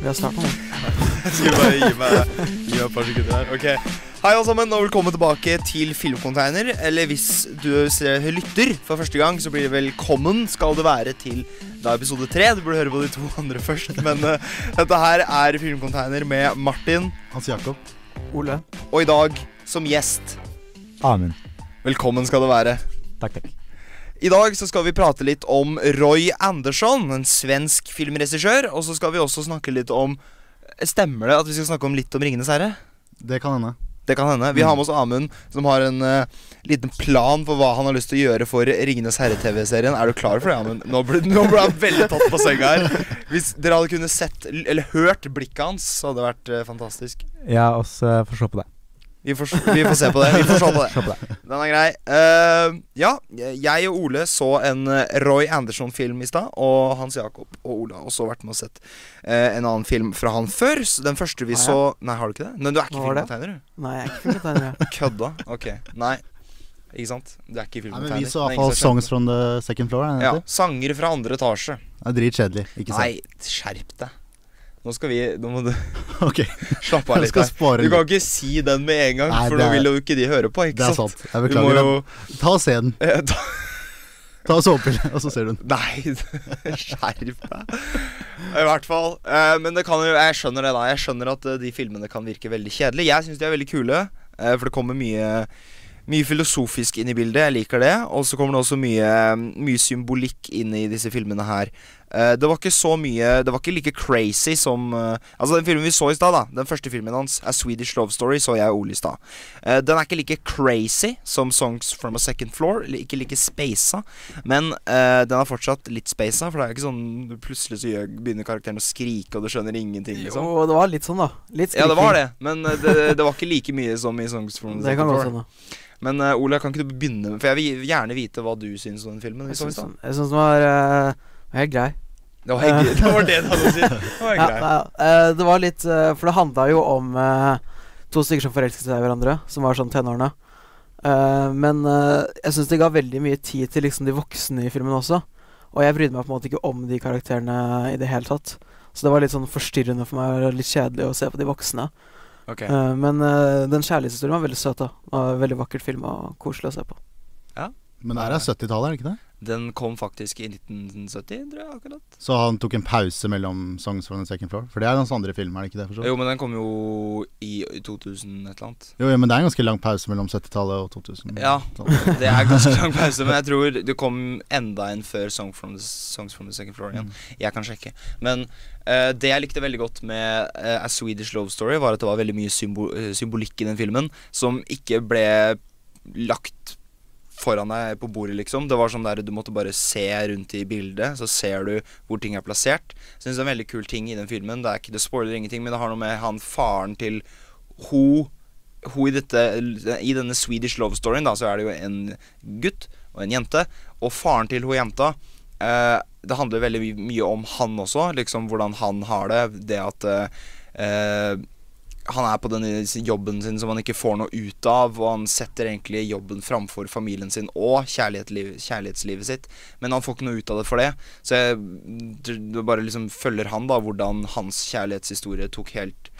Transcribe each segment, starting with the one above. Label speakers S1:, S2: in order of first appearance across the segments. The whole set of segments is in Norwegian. S1: Vi har starta nå.
S2: Skal vi bare gi meg, gi meg et par sekunder her. Ok. Hei, alle sammen, og velkommen tilbake til Filmcontainer. Eller hvis du ser, lytter for første gang, så blir det velkommen skal det være til da episode tre. Du burde høre på de to andre først. Men eh, dette her er Filmcontainer med Martin,
S3: Hans Jakob.
S1: Ole.
S2: og i dag som gjest.
S3: Amund.
S2: Velkommen skal det være.
S3: Takk, takk.
S2: I dag så skal vi prate litt om Roy Andersson, en svensk filmregissør. Og så skal vi også snakke litt om Stemmer det at vi skal snakke om litt om 'Ringenes herre'?
S3: Det kan hende.
S2: Det kan hende. Vi har med oss Amund, som har en eh, liten plan for hva han har lyst til å gjøre for Ringenes herre-TV-serien. Er du klar for det, Amund? Nå ble, nå ble han veldig tatt på senga her. Hvis dere hadde kunnet sett, eller hørt blikket hans, så hadde det vært eh, fantastisk.
S4: Ja, oss eh, får se på det.
S2: Vi får, s- vi får se på det. Vi får se på det.
S4: Se på det.
S2: Den er grei. Eh, ja, jeg og Ole så en eh, Roy Andersson-film i stad. Og Hans Jakob og Ole har også vært med og sett eh, en annen film fra han før. Så den første vi
S1: Har
S3: Ah,
S1: jeg?
S2: så Nei, har du ikke det? Nei, du er ikke
S1: Hva var det?
S2: filmtegner, du?
S1: Nei, jeg er ikke filmtegner. jeg.
S2: Kødda. Ok. Nei. Ikke sant? Du er ikke
S3: Nei,
S2: filmtegner.
S3: men vi
S2: Det er
S3: så i hvert
S2: ingen som
S3: fall
S2: skjønner.
S3: Songs from the Second Floor. Er det
S2: Ja.
S3: det heter?
S2: Sanger fra andre etasje.
S3: Det er dritkjedelig. Ikke sant?
S2: Nei, skjerp deg. Nå skal vi Nå må du
S3: Ok,
S2: slappe av
S3: jeg
S2: litt
S3: skal
S2: her.
S3: spare
S2: Du
S3: litt.
S2: kan ikke si den med en gang,
S3: Nei,
S2: for
S3: det
S2: nå
S3: er-
S2: vil jo ikke de høre på. Ikke
S3: Det er
S2: sant?
S3: sant. Jeg
S2: Du må
S3: beklager.
S2: jo
S3: Ta og se den.
S2: eh, ta-
S3: Ta og sovepille, og så ser du den.
S2: Nei, skjerp deg. I hvert fall. Eh, men det kan jo, jeg skjønner det, da. Jeg skjønner at eh, de filmene kan virke veldig kjedelige. Jeg syns de er veldig kule, eh, for det kommer mye mye filosofisk inn i bildet. Jeg liker det. Og så kommer det også mye, mye symbolikk inn i disse filmene her. Eh, det var ikke så mye Det var ikke like crazy som eh, Altså, den filmen vi så i stad, da. Den første filmen hans, er 'Swedish Love Story', så jeg og Ole i stad. Eh, den er ikke like crazy som 'Songs From A Second Floor'. eller Ikke like spasa. Men eh, den er fortsatt litt spasa, for det er ikke sånn du plutselig så gjør, begynner karakteren å skrike, og du skjønner ingenting, liksom.
S1: Jo, det var litt sånn, da. Litt
S2: Ja, det var det, men eh, det, det var ikke like mye som i 'Songs
S1: skriking.
S2: From A
S1: Det
S2: Second
S1: kan godt
S2: Floor'.
S1: hende.
S2: Men eh, Ole, kan ikke du begynne med For jeg vil gjerne vite hva du syns om den filmen.
S1: Jeg
S2: Hvis du
S1: syns
S2: vil.
S1: den jeg syns den var eh, helt grei.
S2: Det var hyggelig. Det var det du hadde å si. Det var
S1: Ja,
S2: greit.
S1: nei, eh, det var litt eh, For det handla jo om eh, to stykker som forelsket seg i hverandre, som var sånn tenårene. Eh, men eh, jeg syns det ga veldig mye tid til liksom de voksne i filmen også. Og jeg brydde meg på en måte ikke om de karakterene i det hele tatt. Så det var litt sånn forstyrrende for meg og litt kjedelig å se på de voksne.
S2: Ok.
S1: Eh, men eh, den kjærlighetshistorien var veldig søt, da. Og veldig vakkert film og koselig å se på.
S3: Men det her er 70-tallet, er det ikke det?
S2: Den kom faktisk i 1970, tror jeg. akkurat
S3: Så han tok en pause mellom Songs from the Second Floor? For det er hans andre film, er det ikke det? For så? vidt?
S2: Jo, men den kom jo i 2000 et eller annet.
S3: Jo, jo, men det er en ganske lang pause mellom 70-tallet og 2000.
S2: Ja.
S3: Sånn.
S2: Det er ganske lang pause, men jeg tror det kom enda en før Song from the, Songs from the Second Floor igjen. Jeg kan sjekke. Men eh, det jeg likte veldig godt med eh, A Swedish Love Story, var at det var veldig mye symbo eh, symbolikk i den filmen som ikke ble lagt foran deg på bordet, liksom. Det var sånn der du måtte bare se rundt i bildet, så ser du hvor ting er plassert. Syns det er en veldig kul ting i den filmen. Det er ikke, det spoiler ingenting, men det har noe med han faren til ho hun i, dette, I denne Swedish love storyen da, så er det jo en gutt og en jente. Og faren til hun jenta eh, Det handler veldig my mye om han også. Liksom Hvordan han har det. Det at eh, eh, han er på denne s- jobben sin som han ikke får noe ut av. Og han setter egentlig jobben framfor familien sin og kjærlighetsliv, kjærlighetslivet sitt. Men han får ikke noe ut av det for det. Så jeg du- du bare liksom følger han, da. Hvordan hans kjærlighetshistorie tok helt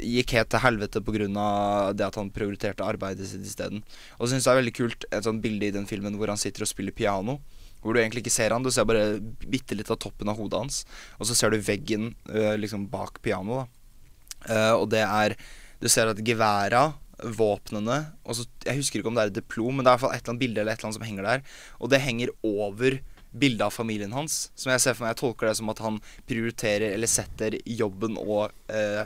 S2: gikk helt til helvete pga. det at han prioriterte arbeidet sitt isteden. Og så syns jeg det er veldig kult et sånt bilde i den filmen hvor han sitter og spiller piano. Hvor du egentlig ikke ser han, du ser bare bitte litt av toppen av hodet hans. Og så ser du veggen øh, liksom bak pianoet, da. Eh, og det er Du ser at geværa, våpnene og så, Jeg husker ikke om det er et diplom, men det er i hvert fall et eller annet bilde eller et eller annet som henger der. Og det henger over bildet av familien hans. Som jeg ser for meg, jeg tolker det som at han prioriterer eller setter jobben og eh,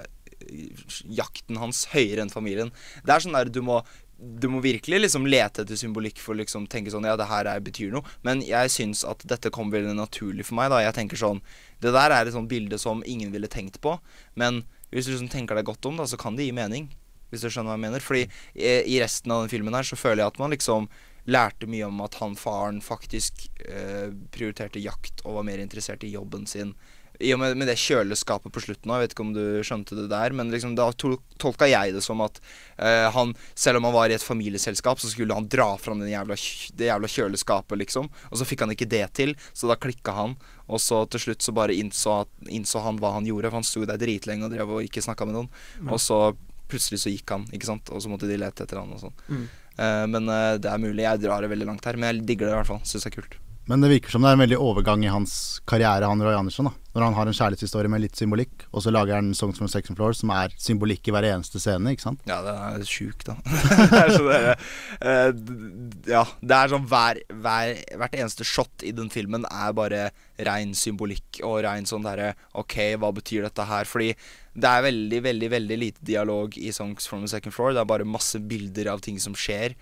S2: jakten hans høyere enn familien. Det er sånn der du må du må virkelig liksom lete etter symbolikk for å liksom tenke sånn Ja, det her er, betyr noe. Men jeg syns at dette kom veldig naturlig for meg. da Jeg tenker sånn Det der er et sånt bilde som ingen ville tenkt på. Men hvis du liksom tenker deg godt om, da så kan det gi mening. Hvis du skjønner hva jeg mener. Fordi eh, i resten av den filmen her så føler jeg at man liksom lærte mye om at han faren faktisk eh, prioriterte jakt og var mer interessert i jobben sin i og med, med det kjøleskapet på slutten òg, jeg vet ikke om du skjønte det der, men liksom, da tol tolka jeg det som at eh, han, selv om han var i et familieselskap, så skulle han dra fram den jævla, kj- det jævla kjøleskapet, liksom. Og så fikk han ikke det til, så da klikka han. Og så til slutt så bare innså, at, innså han hva han gjorde, for han sto der dritlenge og drev og ikke snakka med noen.
S1: Ja.
S2: Og så plutselig så gikk han, ikke sant, og så måtte de lete etter han og sånn.
S1: Mm.
S2: Eh, men eh, det er mulig, jeg drar det veldig langt her, men jeg digger det i hvert fall. Syns det er kult.
S3: Men det virker som det er en veldig overgang i hans karriere, han Roy Andersen. da Når han har en kjærlighetshistorie med litt symbolikk, og så lager han 'Songs from Sex and Floor', som er symbolikk i hver eneste scene. ikke sant?
S2: Ja, den er sjuk, da. det er sånn derre eh, d- d- Ja. Det er sånn hver, hver, hvert eneste shot i den filmen er bare rein symbolikk og rein sånn derre OK, hva betyr dette her? Fordi det er veldig, veldig veldig lite dialog i Songs from the Second Floor. Det er bare masse bilder av ting som skjer,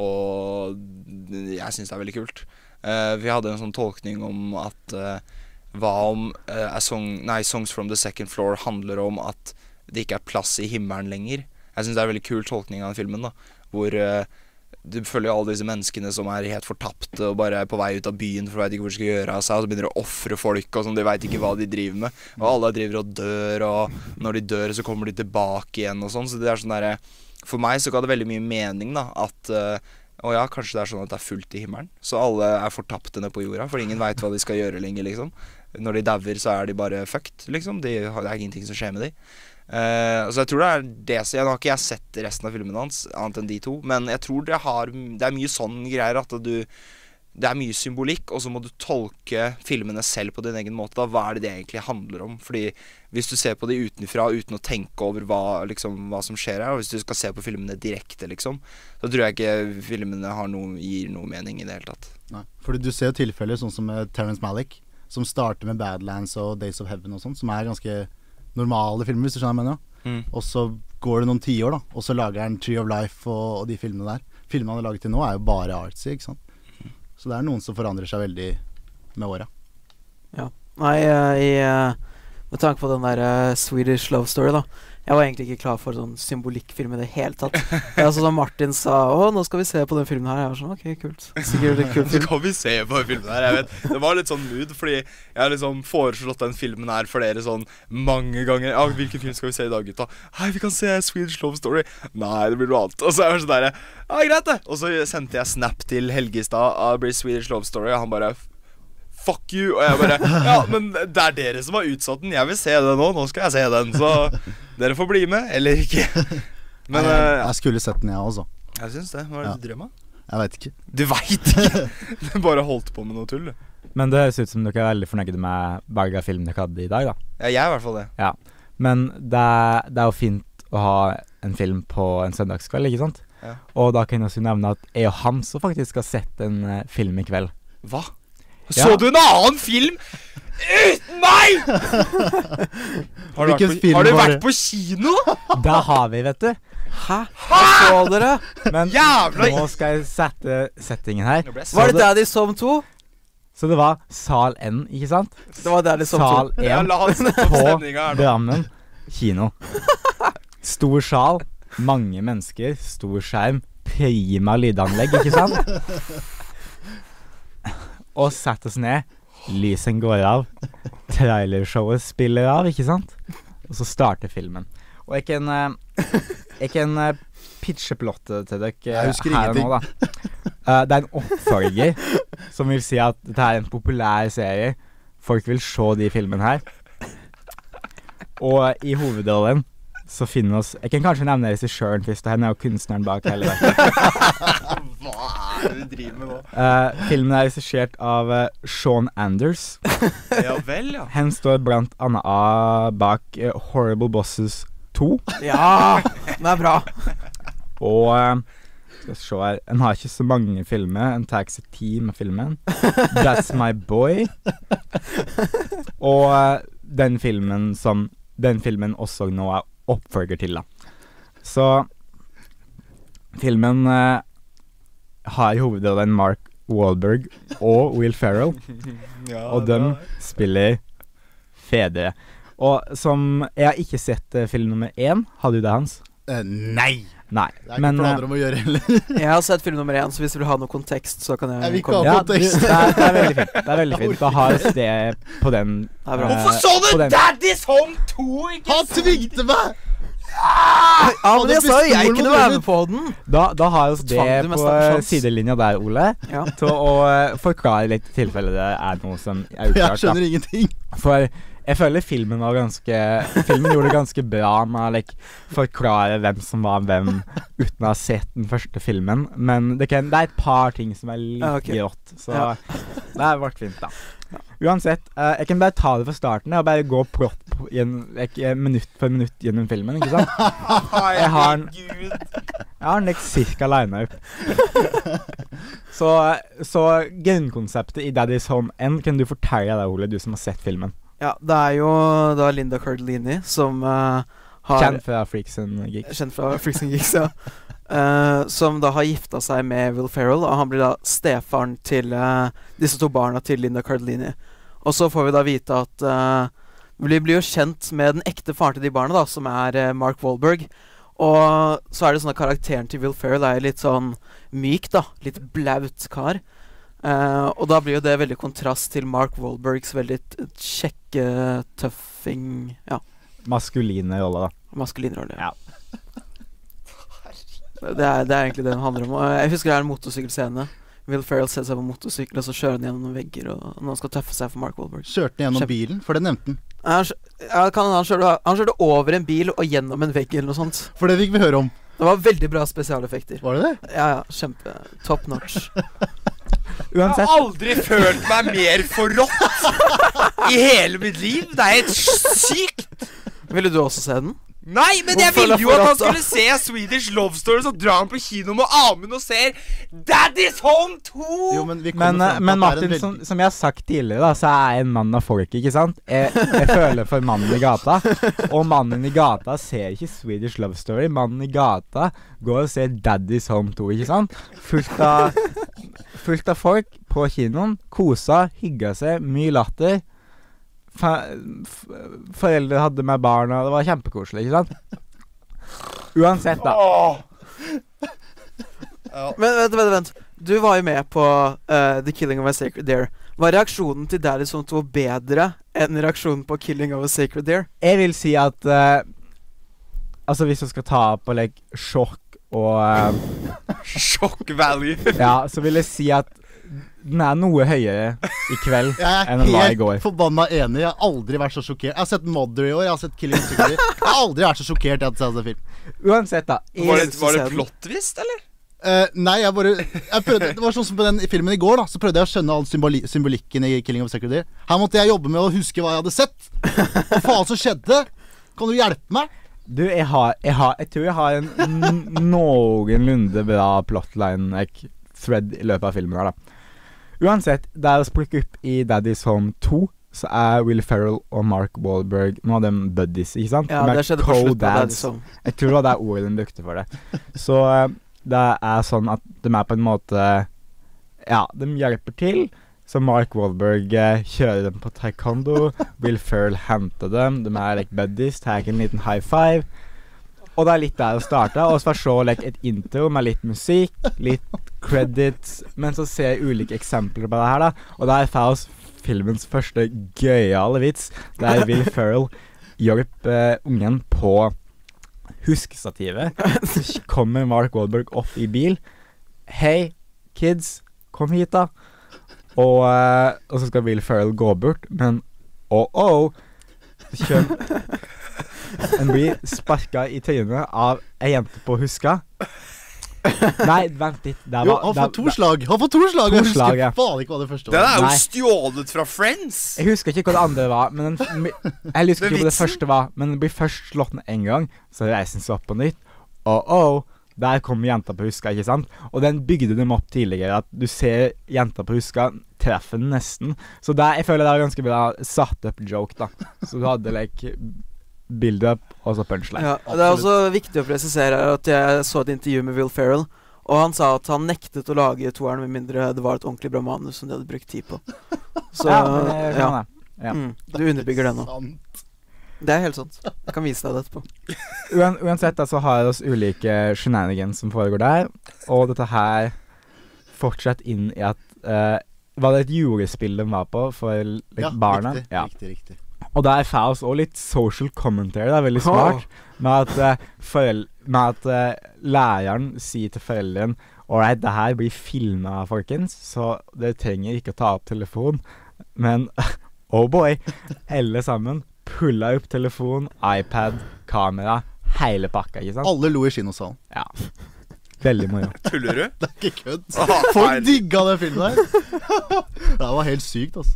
S2: og jeg syns det er veldig kult. Eh, vi hadde en sånn tolkning om at eh, hva om eh, a song, nei, Songs from the Second Floor handler om at det ikke er plass i himmelen lenger. Jeg syns det er en veldig kul tolkning av den filmen, da. Hvor eh, du følger alle disse menneskene som er helt fortapte og bare er på vei ut av byen for veit ikke hvor de skal gjøre av seg, og så begynner de å ofre folk og sånn, de veit ikke hva de driver med. Og alle driver og dør, og når de dør, så kommer de tilbake igjen og sånn. Så det er sånn derre For meg så ga det veldig mye mening, da, at eh, å ja, kanskje det er sånn at det er fullt i himmelen. Så alle er fortapte nede på jorda, for ingen veit hva de skal gjøre lenger, liksom. Når de dauer, så er de bare fucked, liksom. De, har- det er ingenting som skjer med de. Eh, så jeg tror det er det som Nå har ikke jeg sett resten av filmene hans, annet enn de to, men jeg tror det, har, det er mye sånn greier at du Det er mye symbolikk, og så må du tolke filmene selv på din egen måte. Da. Hva er det det egentlig handler om? Fordi hvis du ser på de utenfra uten å tenke over hva, liksom, hva som skjer her, og hvis du skal se på filmene direkte, liksom, så tror jeg ikke filmene har noe, gir noe mening i det hele tatt.
S3: Nei. Fordi du ser jo tilfeller sånn som eh, Terrence Malick, som starter med 'Badlands' og 'Days of Heaven' og sånn, som er ganske normale filmer, hvis du skjønner hva jeg mener.
S4: Mm.
S3: Og så går det noen tiår, da, og så lager han 'Tree of Life' og, og de filmene der. Filmene han har laget til nå, er jo bare artsy, ikke sant.
S4: Mm.
S3: Så det er noen som forandrer seg veldig med åra.
S1: Nei, eh, i, eh, med tanke på den der eh, Swedish love story, da. Jeg var egentlig ikke klar for sånn symbolikkfilm i det hele tatt. Det er sånn som Martin sa Å, nå skal vi se på den filmen her. Jeg var sånn OK, kult. Sikkert en kul
S2: Så
S1: film.
S2: kan vi se på filmen her. Jeg vet. Det var litt sånn mood, fordi jeg har liksom foreslått den filmen her for dere sånn mange ganger. Ja, 'Hvilken film skal vi se i dag, gutta?' 'Hei, vi kan se Swedish Love Story'. Nei, det blir noe annet. Og så er jeg sånn derre Ja, greit, det. Og så sendte jeg snap til Helgestad av Blir Swedish Love Story, og han bare Fuck you. Og jeg bare Ja, men det er dere som har utsatt den. Jeg vil se den nå. Nå skal jeg se den. Så dere får bli med, eller ikke. Men
S3: jeg,
S2: eh,
S3: jeg skulle sett den, jeg også.
S2: jeg syns det. Hva er det du drømmer?
S3: Jeg veit ikke.
S2: Du veit ikke! Du bare holdt på med noe tull, du.
S4: Men det høres ut som dere er veldig fornøyde med begge de filmene dere hadde i dag, da.
S2: Ja, jeg er i hvert fall det.
S4: Men det, det er jo fint å ha en film på en søndagskveld, ikke sant?
S2: Ja.
S4: Og da kan jeg også nevne at jeg og han så faktisk har sett en eh, film i kveld.
S2: Hva?
S4: Ja.
S2: Så du en annen film uten meg?! Har du,
S3: Hvilken
S2: vært på,
S3: film
S2: har du
S3: var
S2: vært
S3: det?
S2: på kino?!
S4: Da har vi, vet du.
S1: Hæ? Så dere?
S4: Men
S2: Jævla
S4: nå skal jeg sette settingen her.
S2: Nå ble jeg
S1: Var
S2: sur.
S1: det Daddy Som 2?
S4: Så det var Sal N, ikke sant?
S1: Det var Daddy Som 2.
S4: Sal
S2: sånn Ja,
S4: 1
S2: La han sette opp
S4: på
S2: stemninga her nå.
S4: Drammen kino. Stor sal, mange mennesker, stor skjerm, prima lydanlegg, ikke sant? Og sett oss ned, lysen går av, trailershowet spiller av, ikke sant? Og så starter filmen. Og jeg kan, eh, jeg kan eh, pitche plottet til dere eh,
S3: Jeg husker
S4: her og nå, da. Eh, det er en oppfølger som vil si at dette er en populær serie. Folk vil se de filmene her. Og i hovedrollen så finner vi oss Jeg kan kanskje nevne regissøren først. og Han er jo kunstneren bak hele verket.
S2: Hva er det du driver med nå?
S4: Eh, filmen er regissert av eh, Sean Anders.
S2: Ja vel, ja.
S4: Han står blant annet av bak eh, Horrible Bosses 2.
S1: Ja! Den er bra.
S4: Og eh, skal vi se her En har ikke så mange filmer. En tar ikke seg tid med filmen. That's My Boy. Og eh, den filmen som Den filmen også nå er oppfølger til, da. Så filmen eh, har i hovedrollen Mark Wahlberg og Will Ferrell,
S2: ja
S4: og dem spiller fedre. Og som Jeg har ikke sett eh, film nummer én. Har du det, Hans?
S3: Eh, nei!
S4: Nei.
S3: Det er ikke
S4: Men, eh,
S3: planer om å gjøre heller.
S1: Jeg har sett film nummer én, så hvis du vil ha noe kontekst, så kan
S3: Jeg
S1: jeg,
S3: vil ikke
S1: komme.
S3: ha-
S4: Ja, det,
S3: kontekst.
S4: det, er, det er veldig fint. Det er veldig fint å ha et sted på den
S1: Det er bra.
S4: eh,
S2: Hvorfor så
S4: på
S2: du
S4: den-
S2: Daddy's Home 2? Ikke
S3: Han tvingte meg!
S1: Ja, men jeg sa jo jeg kunne være med på den!
S4: Da, da har vi
S1: Så
S4: det
S1: tvang du meg
S4: på
S1: snart en
S4: eh,
S1: sjans.
S4: sidelinja der, Ole,
S1: Ja.
S4: til å eh, forklare litt i tilfelle det er noe som er
S3: Jeg
S4: uklart. da.
S3: skjønner ingenting.
S4: For jeg føler filmen var ganske Filmen gjorde det ganske bra med å like, forklare hvem som var hvem, uten å ha sett den første filmen. Men det, kan, det er et par ting som er litt
S1: Ja, ok.
S4: rått, så
S1: Ja.
S4: det har vært fint, da. Uansett, eh, jeg kan bare ta det fra starten jeg, og bare gå plott på- gjennom- like, eh, minutt for minutt gjennom filmen. ikke sant? Jeg har en- Jeg har den liksom cirka lina opp. så, så grunnkonseptet i Daddy's Home End kan du fortelle deg, Ole, du som har sett filmen.
S1: ja, det er jo da Linda Cardellini som eh, har
S4: Kjent fra Freaks and Geeks.
S1: Kjent fra Freaks and Geeks, ja. Eh, som da har gifta seg med Will Ferrell, og han blir da stefaren til eh, disse to barna til Linda Cardellini. Og så får vi da vite at eh, Vi blir jo kjent med den ekte faren til de barna, da, som er eh, Mark Wahlberg. Og så er det sånn at karakteren til Will Ferrell er litt sånn myk, da. Litt blaut kar. Eh, og da blir jo det veldig kontrast til Mark Wahlbergs veldig t- kjekke tøffing Ja,
S4: Maskuline roller, da.
S1: maskulin rolle.
S4: Ja.
S1: Det er, det er egentlig det den handler om. Og Jeg husker det er en motorsykkelscene. Will Ferrell setter seg på motorsykkel, og så kjører han gjennom noen vegger og når han skal tøffe seg for Mark Wahlberg.
S3: Kjørte
S1: Kjempe-
S3: den gjennom bilen, for det nevnte han.
S1: Han, kjø- ja, kan, han, kjørte, han kjørte over en bil og gjennom en vegg eller noe sånt.
S3: For det fikk vi høre om.
S1: Det var veldig bra spesialeffekter.
S3: Var det det?
S1: Ja, ja, kjempe Top notch.
S2: Jeg har
S4: Uansett,
S2: aldri følt meg mer forrådt i hele mitt liv. Det er helt sykt.
S1: Ville du også se den?
S2: Nei, men jeg
S1: Hvorfor
S2: ville
S1: er
S2: jo at han
S1: forrådt, da?
S2: skulle se Swedish Love Story, så drar han på kino med Amund og ser Daddy's Home 2!
S3: Jo, men vi kommer
S4: men,
S3: frem til
S4: eh,
S3: at
S4: men
S3: det er en
S4: Martin,
S3: veldig-
S4: som, som jeg har sagt tidligere, da, så er jeg en mann av folket, ikke sant? Jeg, jeg føler for mannen i gata. Og mannen i gata ser ikke Swedish Love Story. Mannen i gata går og ser Daddy's Home 2, ikke sant? Fullt av, fullt av folk på kinoen. Kosa, hygga seg, mye latter. Fa f foreldre hadde med barna, det var kjempekoselig, ikke sant? Uansett, da.
S2: Åh.
S1: Men vent, vent, vent. Du var jo med på eh, The Killing of a Sacred Deer. Var reaksjonen til Daddy som to bedre enn reaksjonen på Killing of a Sacred Deer?
S4: Jeg vil si at eh, Altså, hvis du skal ta på like, sjokk og eh,
S2: Sjokk value.
S4: Ja, så vil jeg si at den er noe høyere i kveld enn den
S3: Jeg
S4: var
S3: er
S4: i går.
S3: helt forbanna enig. Jeg har aldri vært så sjokkert. Jeg har sett Mother i år, jeg har sett Killing Sugary. Jeg har aldri vært så sjokkert etter å ha sett film.
S4: Uansett, da.
S2: Var
S4: Jeg,
S2: det, var det plottvist, eller?
S3: Eh, nei, jeg bare jeg prøvde, Det var sånn som på den filmen i går, da. Så prøvde jeg å skjønne all symboli, symbolikken i Killing of a Sacred Deer. Her måtte jeg jobbe med å huske hva jeg hadde sett. Hva faen som skjedde? Kan du hjelpe meg?
S4: du, jeg har, jeg har Jeg tror jeg har en n- noenlunde bra plotline like, thread i løpet av filmen her, da. Uansett, det er å splukke opp i Daddy's Home 2. Så er Will Ferrell og Mark Wahlberg Nå har de buddies, ikke sant?
S1: Ja,
S4: De er
S1: det skjedde på slutten. av Daddy
S4: co-dads.
S1: som
S4: Jeg tror det var det ordet den brukte for det. Så eh, det er sånn at de er på en måte Ja, de hjelper til. Så Mark Wahlberg eh, kjører dem på taekwondo. Will Ferrell henter dem. De er like buddies. Tar en liten high five. Og det er litt der å starte. Og så så like, et intro med litt musikk, litt credits. Men så ser jeg ulike eksempler på det her, da. Og der får oss filmens første gøyale vits. Der Will Ferrell hjelper eh, ungen på huskestativet. Så kommer Mark Wahlberg opp i bil. Hei, kids, kom hit, da. Og, eh, og så skal Will Ferrell gå bort, men oh, oh-oh Kjøm En blir sparka i trynet av ei jente på huska. Nei, vent litt. Der
S3: Jo,
S4: var,
S3: han
S4: der-
S3: får to slag. Han får to slag.
S4: To
S3: Jeg
S4: slag,
S3: husker
S4: ja.
S3: faen ikke hva det første
S2: Den
S3: var.
S2: er jo
S4: Nei.
S2: stjålet fra Friends.
S4: Jeg husker ikke hva det andre var. Men den, jeg husker
S2: Det er
S4: ikke hva det
S2: vitsen.
S4: første var Men den blir først slått ned én gang, så reiser den seg opp på nytt. Oh, oh, der kommer jenta på huska, ikke sant? Og den bygde dem opp tidligere. At du ser jenta på huska, treffer den nesten. Så der, jeg føler det er ganske bra satt opp joke, da. Så du hadde like build up og så punchline.
S1: Ja, det er også viktig å presisere at jeg så et intervju med Will Ferrell, og han sa at han nektet å lage toeren med mindre det var et ordentlig bra manus som de hadde brukt tid på. Så
S4: Ja, men eh, jeg kan
S1: ja.
S4: sånn det. ja.
S1: Mm, du underbygger det nå.
S3: Sant.
S1: Det er helt sant. Jeg kan vise deg det etterpå.
S4: Uan, uansett da, så har vi oss ulike shenanigans som foregår der, og dette her fortsatt inn i at eh, Var det et julespill de var på for l- barna?
S3: Riktig,
S4: Ja.
S3: riktig, riktig.
S4: Og der får vi også litt social commentary, da, veldig smart, med at, eh, forel med at eh, læreren sier til foreldrene Ålreit, det her blir filma, folkens, så dere trenger ikke å ta opp telefon. Men oh boy, alle sammen pulla opp telefon, iPad, kamera, hele pakka, ikke sant?
S3: Alle lo i kinosalen.
S4: Ja. Veldig moro.
S2: Tuller du?
S3: Det er ikke kødd.
S2: Ah,
S3: Folk
S2: feil.
S3: digga den filmen der. det var helt sykt, altså.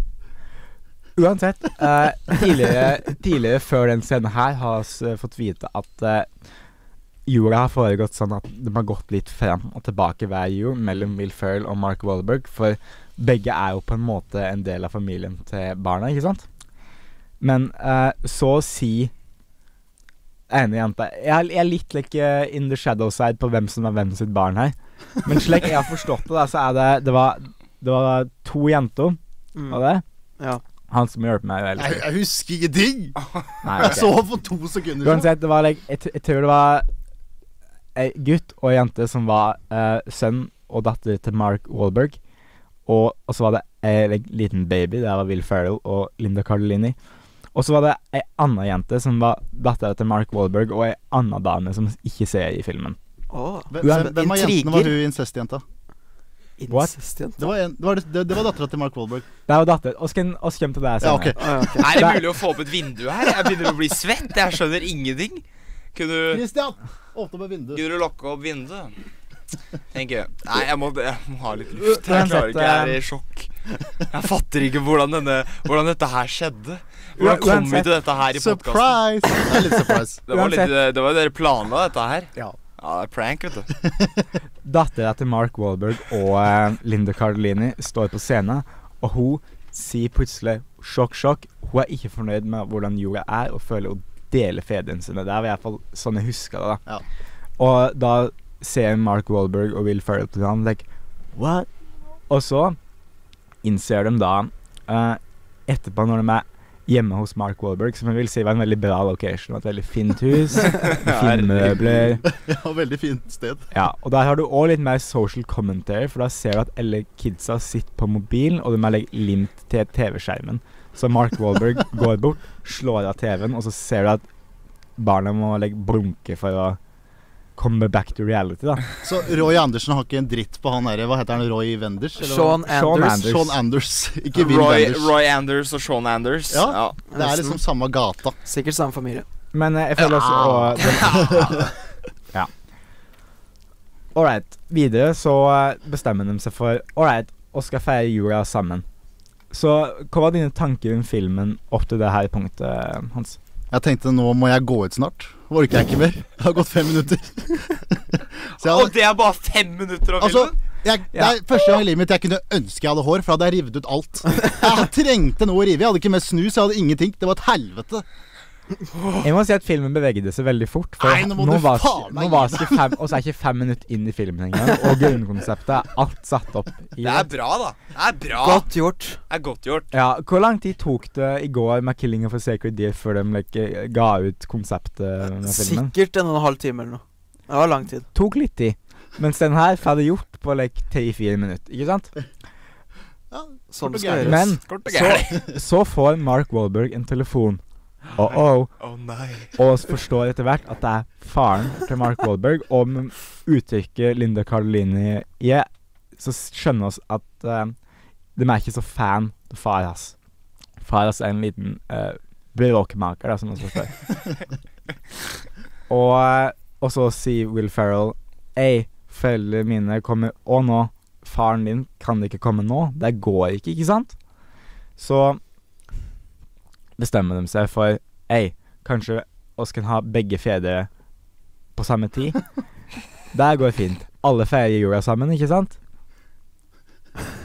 S4: Uansett, eh, tidligere, tidligere før den scenen her har vi fått vite at eh, jorda har foregått sånn at de har gått litt fram og tilbake hver jul mellom Will Ferrell og Mark Wahlberg, for begge er jo på en måte en del av familien til barna, ikke sant? Men eh, så å si ene jenta Jeg, er- jeg er litt like in the shadow side på hvem som er hvem sitt barn her. Men slik jeg har forstått det, da, så er det Det var, det var to jenter,
S1: Mm.
S4: var det?
S1: Ja.
S4: Han som hjelper meg, eller?
S3: Jeg, jeg husker ingenting!
S2: Ah,
S4: Nei,
S3: Jeg
S4: ok.
S3: så for to sekunder siden.
S4: Uansett, det var like, jeg, t- jeg tror det var ei gutt og ei jente som var eh, sønn og datter til Mark Wahlberg. Og, og så var det ei like, liten baby, der var Will Ferrell og Linda Cardellini. Og så var det ei anna jente som var dattera til Mark Wahlberg, og ei anna dame som ikke ser i filmen.
S1: Åh,
S3: Hvem, hvem, hvem av jentene var
S1: Intriger.
S3: hun incestjenta?
S4: What?
S1: Incestjent.
S3: Det var, en- det var, det- det, det var dattera til Mark Wahlberg.
S4: Det er jo datter. Oss kjem til deg
S3: Ja, ok.
S4: senere.
S1: Å, ja, ok.
S2: Er det mulig å få opp et vindu her? Jeg begynner å bli svett. Jeg skjønner ingenting. Kunne,
S3: Christian! Åpne opp et vindu.
S2: kunne du lokke opp vinduet? Tenker jeg. Nei, jeg må, jeg må ha litt luft. Jeg klarer
S4: Uansett,
S2: ikke. Jeg er i sjokk. Jeg fatter ikke hvordan, denne, hvordan dette her skjedde.
S4: Uansett-
S2: Hvordan kom vi til dette her i podkasten?
S3: Surprise! Det er litt surprise.
S2: Det var, litt,
S4: Uansett.
S2: det var jo dere planla dette her.
S3: Ja.
S2: Ja, det er prank, vet du.
S4: Dattera til Mark Wahlberg og eh, Linda Cardellini står på scenen, og hun sier plutselig sjokk, sjokk. Hun er ikke fornøyd med hvordan jorda er, og føler hun deler fedrene sine. Det er i hvert fall sånn jeg husker det. da.
S3: Ja.
S4: Og da ser Mark Wahlberg og Will Ferrell til hverandre like, What? Og så innser de da, eh, etterpå når de er hjemme hos Mark Wahlberg, som jeg vil si var en veldig bra location, og et veldig fint hus, fine møbler
S3: ja, veldig fint sted.
S4: ja, og der har du òg litt mer social commentary, for da ser du at alle kidsa sitter på mobilen, og de er like limt til TV-skjermen. Så Mark Wahlberg går bort, slår av TV-en, og så ser du at barna må like blunke for å komme back to reality, da.
S3: Så Roy Andersen har ikke en dritt på han derre Hva heter han? Roy Wenders? eller hva?
S1: Sean
S4: Sean
S1: Anders.
S4: Anders.
S3: Sean Anders. Ikke Will
S2: Roy,
S3: Wenders.
S2: Roy Anders og Sean Anders.
S3: Ja.
S2: Ja.
S3: Det er liksom samme gata.
S1: Mm, Sikkert samme familie.
S4: Men eh, jeg føler også og, Ja. Ålreit. Videre så eh, bestemmer de seg for Ålreit, å skal feire jula sammen. Så hva var dine tanker om filmen opp til det her punktet, Hans?
S3: Jeg tenkte nå må jeg gå ut snart. Orker jeg ikke mer. Det har gått fem minutter. Så jeg,
S2: Og
S3: hadde-
S2: det er bare fem minutter av
S3: altså,
S2: filmen?
S3: jeg, det er første gang i livet mitt jeg kunne ønske jeg hadde hår, for da hadde jeg revet ut alt. Jeg trengte noe å rive. i. Jeg hadde ikke mer snus, jeg hadde ingenting. Det var et helvete.
S4: Jeg må si at filmen bevegde seg veldig fort. For
S3: Nei, nå må du
S4: var
S3: faen meg
S4: nå var det ikke fem, Og så er ikke fem minutter inn i filmen engang. Og grunnkonseptet er alt satt opp i
S2: Det er bra, da. Det er bra.
S1: Godt gjort.
S2: Det er godt gjort.
S4: ja, Hvor lang tid tok det i går med 'Killing of a Sacred Deer' før de like, ga ut konseptet med filmen?
S1: Sikkert en og en halv time eller noe. Det var lang tid.
S4: Tok litt tid. Mens den her ferdig gjort på like tre-fire minutter. Ikke sant?
S1: Sånn
S3: Kort og
S1: det skal
S3: gærent.
S1: gjøres.
S4: Men
S2: Kort og
S4: så, så får Mark Wahlberg en telefon. Oh, oh.
S2: Å nei.
S4: Og vi forstår etter hvert at det er faren til Mark Wahlberg. Og med uttrykket Linda Cardellini er, så skjønner vi at eh, de er ikke så fan av far hans. Far hans er en liten uh, bråkmaker, da, som vi forstår. og, eh, og så sier Will Ferrell Ei, foreldrene mine kommer Og nå, faren din kan ikke komme nå. Det går ikke, ikke sant? Så bestemmer de seg for Ei, kanskje oss kan ha begge fedre på samme tid. Der går fint. Alle feirer jula sammen, ikke sant?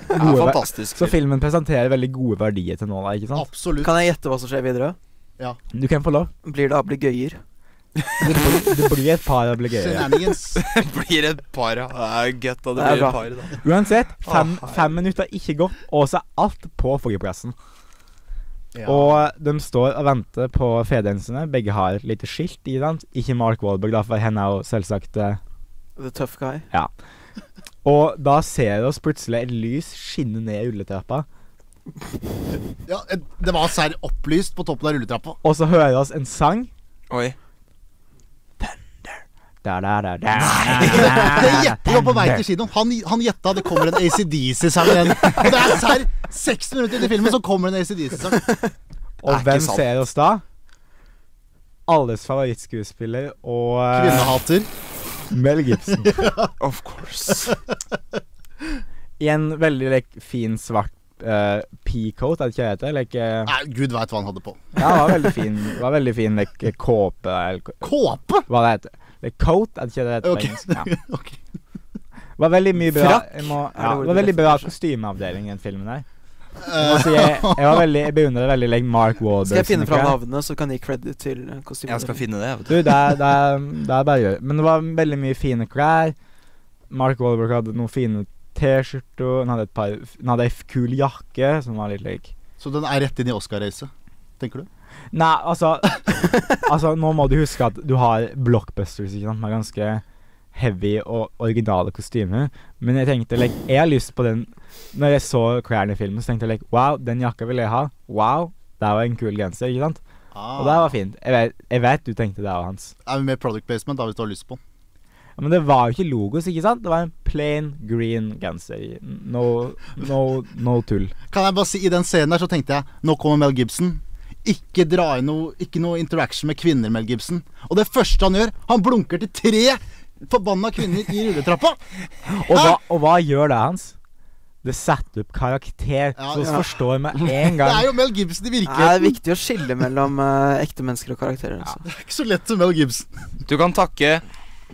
S2: Det
S4: Gode
S2: er
S4: ver-
S2: fantastisk.
S4: Så filmen presenterer veldig gode verdier til nå, da, ikke sant?
S3: Absolutt.
S1: Kan jeg gjette hva som skjer videre?
S4: Du kan få lov.
S1: Blir det ablegøyer?
S4: Det blir, det blir et par obligere.
S3: Shenanigans.
S2: Det blir et par, ja. Det er gøtt at det,
S1: Det er
S2: blir et
S1: bra.
S2: par, da.
S4: Uansett, fem,
S2: Å, herregud.
S4: fem minutter ikke gått, og så er alt på flyplassen.
S3: Ja.
S4: Og eh, de står og venter på fedrene sine. Begge har et lite skilt i dem. Ikke Mark Wahlberg, da, for han er jo selvsagt eh,
S1: The tough guy.
S4: Og da ser vi oss plutselig et lys skinne ned rulletrappa.
S3: ja, eh, det var serr opplyst på toppen av rulletrappa.
S4: Og så hører vi oss en sang.
S2: Oi.
S4: Da, da, da, da,
S3: Det gjetter jeg på vei til kinoen. Han, han gjetta det kommer en ACDC-sang igjen. Og det er serr! Seks minutter inn i filmen, så kommer en ACDC-sang.
S2: Det
S4: Og
S2: er
S4: hvem
S2: ikke sant.
S4: ser oss da? Alles favorittskuespiller og eh,
S3: Kvinnehater.
S4: Mel Gibson.
S2: Of course.
S4: I en veldig like, fin, svart uh, peacoat, er det ikke det heter? Like, eh,
S3: Nei, gud veit hva han hadde på.
S4: ja, det var veldig fin, det var veldig fin like, kåpe eller k-
S3: Kåpe!
S4: Hva det heter Like, coat, er det ikke det heter? på
S3: Ok.
S4: engelsk? Ja.
S3: Ok.
S4: Det var veldig mye bra
S1: Frakk?
S4: jeg må,
S1: Er det ordet
S4: ja, Det var
S1: du
S4: veldig
S1: leter
S4: bra
S1: etter?
S4: kostymeavdeling i den filmen der.
S3: Eh,
S4: Altså, jeg, jeg var veldig Jeg beundrer veldig like, Mark Wahlberg.
S1: Skal jeg finne
S4: som ikke
S1: fram
S4: er-
S1: navnene, så kan jeg gi credit til eh,
S2: Jeg skal
S1: kostymeavdelingen?
S2: finne det. vet
S4: Du, det er, det, er, det er bare å gjøre. Men det var veldig mye fine klær. Mark Wahlberg hadde noen fine T-skjorter. Han hadde et par Han hadde ei f- kul jakke som var litt lik
S3: Så den er rett inn i Oscar-racet, tenker du?
S4: Nei, altså Altså, nå må du huske at du har blockbusters, ikke sant, med ganske heavy og originale kostymer. Men jeg tenkte like Jeg har lyst på den Når jeg så klærne i filmen, så tenkte jeg like Wow, den jakka vil jeg ha. Wow, der var en kul genser, ikke sant? Og
S3: Ah.
S4: det var fint. Jeg vet, jeg vet du tenkte det òg, Hans.
S3: Er vi med product placement da, hvis du har lyst på den?
S4: Ja, Men det var jo ikke logos, ikke sant? Det var en plain green genser. No, no, no tull.
S3: Kan jeg bare si, I den scenen der så tenkte jeg Nå kommer Mel Gibson. Ikke dra inn noe, ikke noe interaction med kvinner, Mel Gibson. Og det første han gjør, han blunker til tre forbanna kvinner i rulletrappa!
S4: Og hva, og hva gjør det hans? Det setter opp karakter,
S3: Ja,
S4: så vi
S1: ja.
S4: forstår med en
S3: Det er
S4: gang.
S3: jo Mel Gibson i
S1: Nei, det er
S3: virkeligheten.
S1: viktig å skille mellom eh, ekte mennesker og karakterer. Altså.
S3: Det er ikke så lett som Mel Gibson.
S2: Du Du kan takke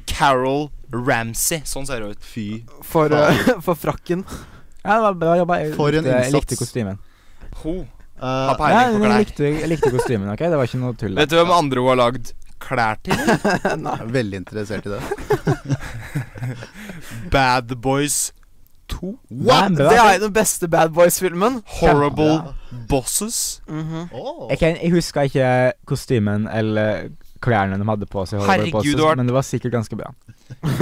S2: Carol Ramsey. Sånn ser det ut.
S3: Fy.
S1: For, eh, for frakken.
S4: Ja, det var bra jobba. Jeg,
S3: For en
S4: likte- jeg
S3: innsats.
S4: likte kostymen.
S2: Ho.
S3: Eh,
S2: Peiling
S4: Ja,
S2: på
S4: men
S2: klær.
S4: jeg likte, jeg likte kostymen, ok? Det var ikke noe tull.
S2: Vet du hvem andre hun har lagd klær til?
S1: Nei.
S3: jeg er veldig interessert i det.
S2: Bad Boys 2.
S4: Nei, men det
S1: Det
S4: var-
S1: er jo den beste Bad Boys-filmen.
S2: Horrible Bosses.
S1: Mhm.
S3: Oh.
S4: Jeg, kan, jeg husker ikke kostymen eller klærne de hadde på seg,
S2: Herregud,
S4: på seg,
S2: du har-
S4: men det var sikkert ganske bra.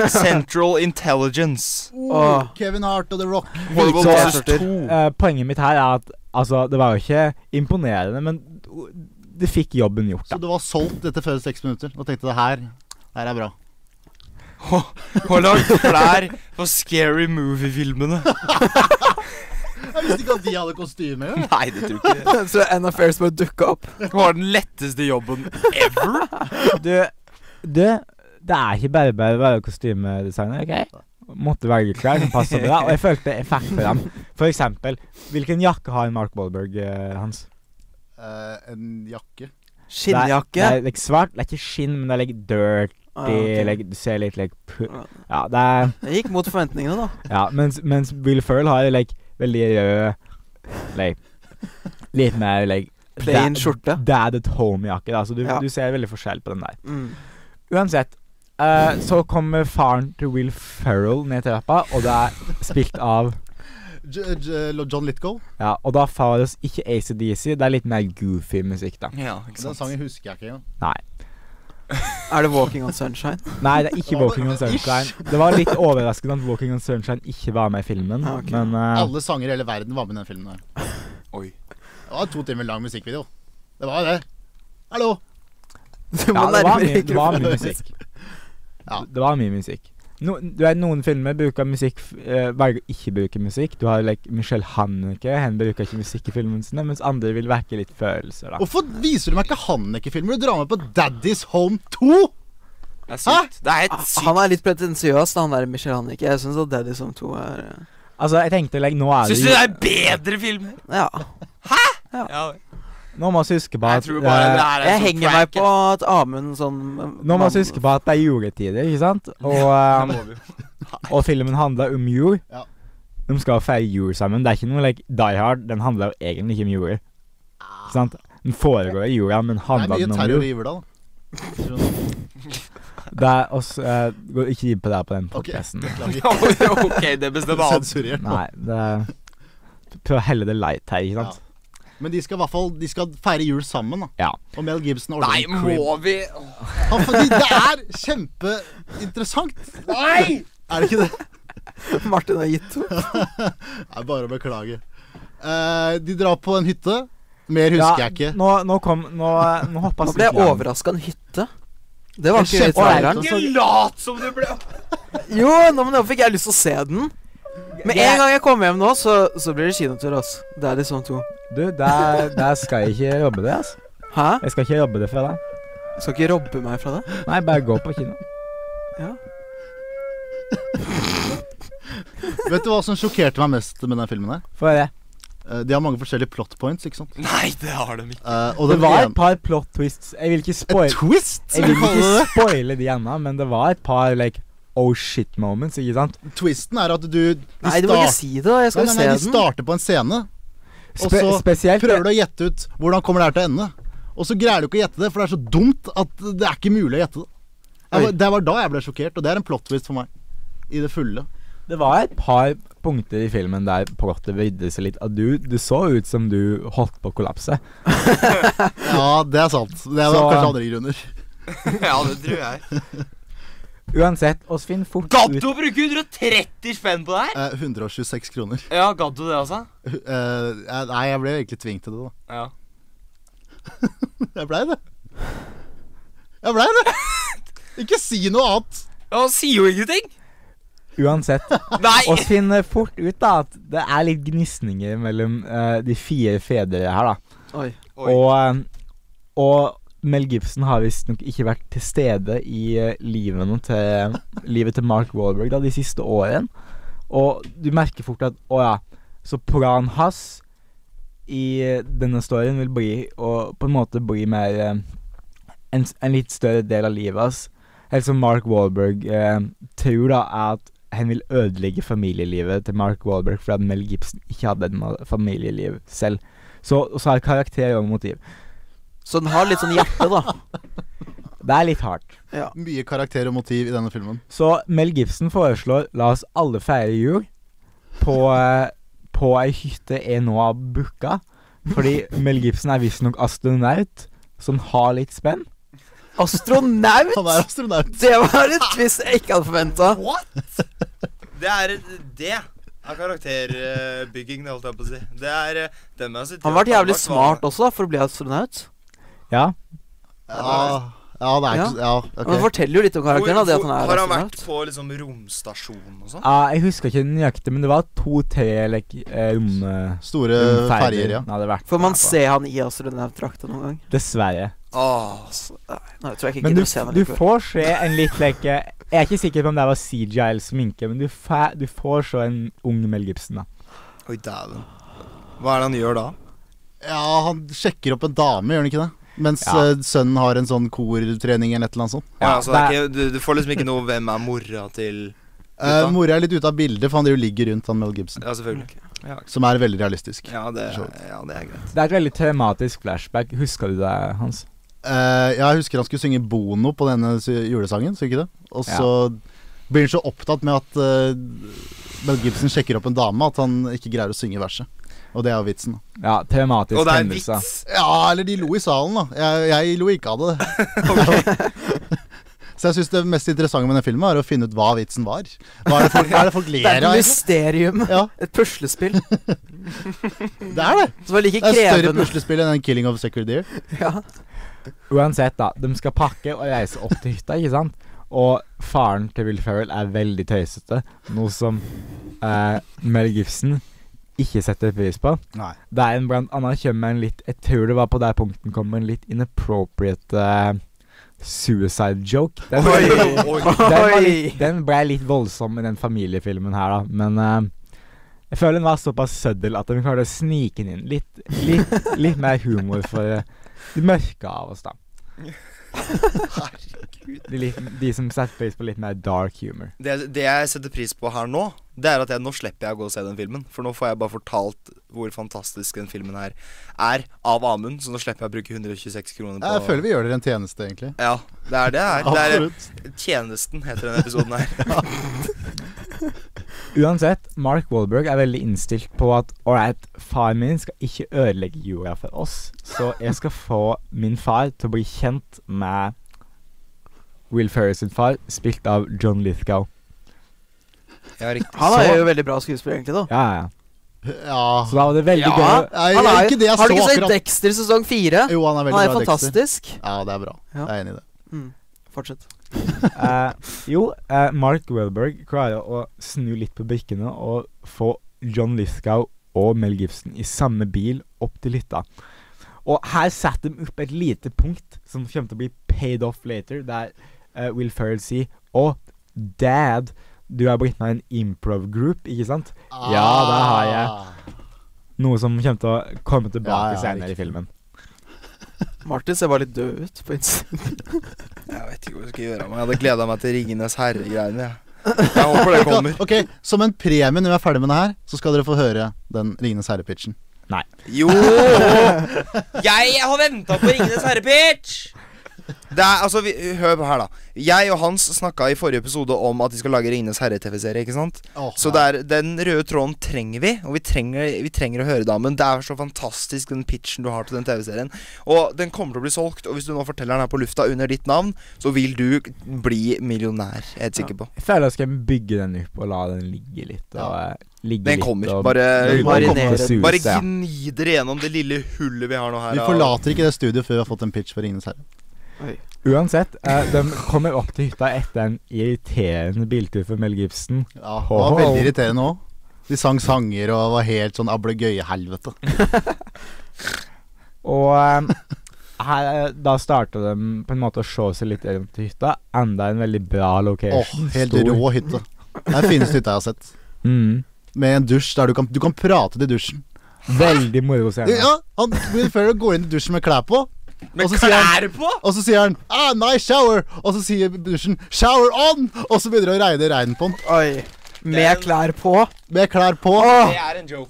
S2: Central Intelligence.
S3: Oh, Kevin Hart og The Rock.
S2: Horrible
S4: Så-
S2: Bosses
S1: T-skjorter.
S2: 2.
S4: Eh, poenget mitt her er at altså, det var jo ikke imponerende, men det fikk jobben gjort. da.
S3: Så du var solgt dette før seks minutter og tenkte det her, her er bra.
S2: Hun har lagd klær for Scary Movie-filmene.
S3: Jeg visste ikke at de hadde kostyme. jo.
S2: Nei, det tror jeg ikke.
S1: Så Anna Fairs bare dukka opp.
S2: Hun har den letteste jobben ever.
S4: Du, du det er ikke bare bare å være kostymedesigner, OK? Måtte velge klær som passer bra, og jeg følte jeg fikk for dem. For eksempel, hvilken jakke har Mark Wahlberg, eh, Hans?
S3: Eh, en jakke.
S4: Det
S1: Skinnjakke.
S4: er, det er like, svart, det er ikke skinn, men det er like dirty,
S1: Ah, ok. Ah.
S4: like, du ser litt like pu-
S1: Ja.
S4: Ja, det er
S1: Det gikk mot forventningene, da.
S4: Ja, mens, mens Will Ferrell har like veldig rød like, Litt mer like
S1: Plain
S4: dad-
S1: skjorte.
S4: Dad at home-jakke, da, så du,
S1: Ja.
S4: du ser veldig forskjell på den der.
S1: Mm.
S4: Uansett. eh, så kommer faren til Will Ferrell ned trappa, og det er spilt av
S3: J J John Litgow.
S4: Ja, og da faller oss ikke ACDC, det er litt mer goofy musikk, da.
S2: Ja, ikke
S3: Den sangen husker jeg ikke engang.
S1: Er det 'Walking on Sunshine'?
S4: Nei, det er ikke Walking on Sunshine. Det var litt overraskende at Walking on Sunshine ikke var med i filmen,
S1: Ja, ok.
S4: men eh,
S3: Alle sanger i hele verden var med i den filmen. her
S2: Oi.
S3: Det var en to timer lang musikkvideo. Det var jo det. Hallo!
S1: Du må
S4: ja, det var
S1: nærmere
S4: mye, det var
S1: mikrofonen.
S4: mye musikk.
S3: Ja.
S4: Det var mye musikk. No, du vet, noen filmer bruker musikk f- eh, velger å ikke bruke musikk. Du har like Michelle Haneke, hun bruker ikke musikk i filmene sine, mens andre vil vekke litt følelser, da.
S3: Hvorfor viser du meg ikke Hanneke-filmer? Du drar meg på Daddy's Home 2!
S2: Det er sykt. Det er helt sykt.
S1: Ah, Han er litt pretensiøs, da, han der Michel Hannicke. Jeg syns at Daddy som to er eh,
S4: Altså, jeg tenkte like, nå er det
S2: Syns du
S4: jo-
S2: det er bedre filmer?
S1: Ja.
S2: Ja,
S4: Nå må vi huske på
S2: jeg
S4: at
S2: tror bare
S4: eh,
S2: det her er
S1: Jeg
S2: sånn
S1: henger meg
S2: prank,
S1: på at Amund sånn eh,
S4: Nå må vi
S1: mann-
S4: huske på at det er juletider, ikke sant? Og,
S2: ja.
S4: eh,
S2: Det må vi jo.
S4: og filmen handler om jul.
S3: Ja.
S4: De skal feire jul sammen. Det er ikke noe like Die Hard. Den handler jo egentlig ikke om jul. Ikke sant? Den foregår i jula, men
S3: Det er
S4: handler
S3: mye
S4: den om jul?
S3: terror i jula, da.
S4: Det er oss eh, Går ikke inn på det her på den
S3: Ok.
S4: podcasten
S3: Beklager.
S2: Ok, det bestemmer han.
S3: Sensurert.
S4: Nei, det er Prøv å helle det light her, ikke sant?
S3: Men de skal i hvert fall De skal feire jul sammen, da.
S4: Ja.
S3: Og Mel Gibson ordner
S2: Nei,
S3: en crib.
S2: må vi
S3: Han, fordi det er kjempeinteressant. Nei! Er det ikke det?
S1: Martin har gitt opp.
S3: Det er bare å beklage. Eh, de drar på en hytte. Mer husker jeg ikke.
S4: Nå, nå kom Nå, eh, nå hoppa
S1: Nå ble jeg overraska. En hytte? Det var
S3: En
S1: ikke i
S3: kjempe-
S1: traileren.
S2: Ikke lat som du ble
S1: Jo, nå, men nå fikk jeg lyst til å se den. Med en gang jeg kommer hjem nå, så, så blir det kinotur. ass Det er liksom to.
S4: Du, der, der skal jeg ikke robbe det, altså.
S1: Hæ?
S4: Jeg skal ikke robbe det fra deg.
S1: Skal ikke robbe meg fra det?
S4: Nei, bare gå på kino.
S3: Vet du hva som sjokkerte meg mest med den filmen? her?
S4: Få høre.
S3: Eh, de har mange forskjellige plot points, ikke sant?
S2: Nei, det har de ikke.
S3: Eh, og
S4: Det
S3: den
S4: var et
S3: ene-
S4: par plot twists. Jeg vil ikke
S3: Et
S4: spoile
S3: twist, som
S4: Jeg
S3: vi
S4: vil
S3: kaller
S4: ikke
S3: det.
S4: spoile de ennå, men det var et par like oh shit moments, ikke sant?
S3: Twisten er at du de
S1: Nei, du må
S3: start-
S1: ikke si det. da Jeg skal
S3: nei,
S1: jo
S3: nei, nei, De
S1: se den.
S3: starter på en scene, Og
S4: Spe
S3: så
S4: spesielt
S3: prøver du å gjette ut hvordan kommer det her til å ende. Og så greier du ikke å gjette det, for det er så dumt at det er ikke mulig å gjette det. Jeg
S1: Oi.
S3: var- Det var da jeg ble sjokkert, og det er en plot twist for meg. I det fulle.
S4: Det var et par punkter i filmen der plottet vridde seg litt. At du, det så ut som du holdt på å kollapse.
S3: Ja, det er sant. Det var
S4: Så,
S3: kanskje
S4: eh,
S3: andre grunner.
S2: ja, det tror jeg.
S4: Uansett, oss finner fort ut
S2: Gaddo bruker 130 spenn på det her!
S3: Eh, 126 kroner.
S2: Ja, Gaddo det, altså.
S3: Eh, jeg- nei, jeg ble egentlig tvunget til det,
S2: Ja.
S3: da. Jeg blei det. Jeg blei det. Ikke si noe annet.
S2: Ja, Han sier jo ingenting!
S4: Uansett,
S2: Nei!
S4: oss finner fort ut da at det er litt gnisninger mellom eh, de fire fedre her, da.
S1: Oi.
S2: Oi.
S4: Og, eh, og Mel Gibson har visstnok ikke vært til stede i eh, livene til, livet til Mark Wahlberg da, de siste årene. Og du merker fort at å ja, så planen hans i eh, denne storyen vil bli å på en måte bli mer eh, en, s- en litt større del av livet hans. Helt som Mark Wahlberg eh, tror da er at han vil ødelegge familielivet til Mark Wahlberg fordi at Mel Gibson ikke hadde et ma- familieliv selv. Så, og så er karakter og motiv.
S1: Så den har litt sånn hjerte, da.
S4: Det er litt hardt.
S1: Ja.
S3: Mye karakter og motiv i denne filmen.
S4: Så Mel Gibson foreslår la oss alle feire jul på, eh, på ei hytte jeg nå har booka. Fordi Mel Gibson er visstnok astronaut som har litt spenn.
S3: Han er
S1: Astronaut!
S3: astronaut.
S1: Det var et twist jeg ikke hadde forventa.
S2: What?! Det er Det er karakterbygging, det holdt jeg på å si. Det er eh, den med
S1: Han har vært jævlig smart også, da, for å bli astronaut.
S4: Ja.
S3: Ja, ja det er ikke Ja,
S1: Men det
S3: ok.
S1: forteller jo litt om karakteren, da, det at han er
S2: Har han vært
S1: astronaut.
S2: på liksom romstasjon og sånn?
S4: Ah, jeg husker ikke den nøyaktig, men det var to-tre like, eh, rom, eh,
S3: Store
S4: romferjer
S3: ferjer, ja.
S4: han hadde vært
S1: Får man
S4: på.
S1: se han i astronautdrakta noen gang?
S4: Dessverre.
S2: Åh,
S1: Altså, nei, nå tror jeg ikke jeg
S4: Men du,
S1: gidder å se han
S4: du
S1: likevel.
S4: får se en litt like Jeg er ikke sikker på om det var CGI eller sminke, men du, fa- du får se en ung Mel Gibson, da.
S2: Oi, dæven. Hva er det han gjør da?
S3: Ja, han sjekker opp en dame, gjør han ikke det? Mens
S4: Ja.
S3: eh, sønnen har en sånn kortrening eller et eller annet sånt.
S2: Ja,
S4: Ja,
S2: altså, det
S4: det
S2: er ikke, du, du får liksom ikke noe 'Hvem er mora?' til
S3: Uh,
S2: Gutta.
S3: Mora er litt ute av bildet, for han driver og ligger rundt han Mel Gibson.
S2: Ja, selvfølgelig. Ja,
S3: Som er veldig realistisk.
S2: ja, det, ja, det er greit.
S4: Det er et veldig traumatisk flashback. Husker du det, Hans?
S3: Eh, jeg husker han skulle synge Bono på denne sy- julesangen, så ikke det? Og så blir han så opptatt med at eh, Mel Gibson sjekker opp en dame, at han ikke greier å synge verset. Og det er jo vitsen. da.
S4: Ja, traumatisk
S2: Og det er en
S4: hendelse.
S2: vits!
S3: Ja, eller de lo i salen, da. Jeg, jeg lo ikke av det. så jeg syns det mest interessante med den filmen er å finne ut hva vitsen var. Hva er det folk, hva er det folk
S1: Det
S3: ler
S1: er et
S3: av? egentlig?
S1: mysterium.
S3: Ja,
S1: Et puslespill
S3: det er det.
S1: som er like
S3: Det er et større
S1: krevende.
S3: puslespill enn den 'Killing of a Sacred Deer'.
S1: Ja.
S4: Uansett, da. De skal pakke og reise opp til hytta, ikke sant? Og faren til Will Ferrell er veldig tøysete, noe som eh, Mel Gibson ikke setter pris på.
S3: Nei.
S4: Der en blant annet kommer en litt Jeg tror det var på der punkten kom en litt inappropriate eh, suicide joke. Den, var litt-
S2: oi.
S4: den, var
S1: Oi!
S4: litt, den ble litt voldsom i den familiefilmen her, da. Men eh, jeg føler den var såpass søddel at den klarte å snike den inn. Litt, litt, litt mer humor for eh, de mørke av oss, da. De, litt, de som setter pris på litt mer dark humor.
S2: Det, det jeg setter pris på her nå, det er at jeg, nå slipper jeg å gå og se den filmen. For nå får jeg bare fortalt hvor fantastisk den filmen her er av Amund. Så nå slipper jeg å bruke 126 kroner på
S3: Jeg føler vi gjør dere en tjeneste, egentlig.
S2: Ja, det er det her. Det er
S3: Absolutt.
S2: Tjenesten, heter den episoden her.
S4: Uansett, Mark Wahlberg er veldig innstilt på at ålreit, far min skal ikke ødelegge jorda for oss, så jeg skal få min far til å bli kjent med Will Ferris sin far, spilt av John Lithgow.
S2: Ja, riktig.
S1: Han er
S4: Så-
S1: jo veldig bra skuespiller, egentlig, da.
S4: Ja, ja.
S3: Ja
S4: Så da var det veldig
S1: Ja.
S4: gøy.
S3: Nei,
S1: Han er,
S3: ikke det jeg
S1: har du
S3: så
S1: ikke sett
S3: akkurat.
S1: Dexter sesong fire?
S3: Jo, han er
S1: Han
S3: veldig
S1: er
S3: bra, Dexter.
S1: fantastisk.
S3: Ja, det er bra.
S1: Ja.
S3: Jeg er enig i det.
S1: Mm. Fortsett.
S4: Eh, jo, eh, Mark Wahlberg klarer å snu litt på brikkene og få John Lithgow og Mel Gibson i samme bil opp til hytta. Og her setter de opp et lite punkt som kommer til å bli paid off later, der eh, Will Ferrell sier Å, dad, du er blitt med i en improv group, ikke sant? Ja, det har jeg.
S3: Ah.
S4: Noe som kommer til å komme
S3: Ja,
S4: tilbake
S3: ja,
S4: senere
S3: riktig.
S4: i filmen.
S1: Martin ser bare litt død ut på innsiden.
S2: Jeg vet ikke hva jeg skal gjøre. Men jeg hadde gleda meg til Ringenes herre-greiene. Jeg. jeg håper det kommer.
S3: Ok, Som en premie når vi er ferdig med det her, så skal dere få høre den Ringenes herre-pitchen.
S2: Jo! Jeg har venta på Ringenes herre-pitch! Det er, altså, vi, hør på her, da. Jeg og Hans snakka i forrige episode om at de skal lage Ringenes herre-TV-serie. ikke sant? Så det er, den røde tråden trenger vi, og vi trenger, vi trenger å høre damen. Det er så fantastisk, den pitchen du har til den TV-serien. Og den kommer til å bli solgt, og hvis du nå forteller den her på lufta under ditt navn, så vil du bli millionær. Jeg er helt sikker på.
S4: Jeg føler jeg skal bygge den opp og la den ligge litt. Og, eh, ligge
S2: Den
S4: litt,
S2: kommer.
S4: og-
S2: Bare, eh,
S4: Den kommer til å
S1: marinere den.
S4: suse,
S2: bare
S4: ja.
S2: gni dere gjennom det lille hullet vi har nå her.
S3: Vi
S2: av-
S3: forlater ikke det studioet før vi har fått en pitch for Ringenes herre.
S4: Uansett, eh, de kommer opp til hytta etter en irriterende biltur for Mel Gibson.
S3: Ja, det var
S4: Ho, ho.
S3: veldig irriterende òg. De sang sanger og var helt sånn ablegøyehelvete.
S4: Og eh, her, eh, da starter de på en måte å se seg litt rundt i hytta. Enda en veldig bra
S3: Åh,
S4: location.
S3: helt
S4: Stor.
S3: rå hytte. Det er den fineste hytta jeg har sett.
S4: Mm.
S3: Med en dusj der du kan, du kan prate til dusjen.
S4: Veldig moro scene.
S3: Ja, han Will Ferrell går inn i dusjen med klær på,
S2: Med
S3: Og så sier han-
S2: klær på!
S3: og så sier han ah, 'nice shower', og så sier dusjen 'shower on', og så begynner det å regne regn på han
S1: Oi. Med
S2: Den-
S1: klær på.
S3: med klær på.
S2: Det er en joke.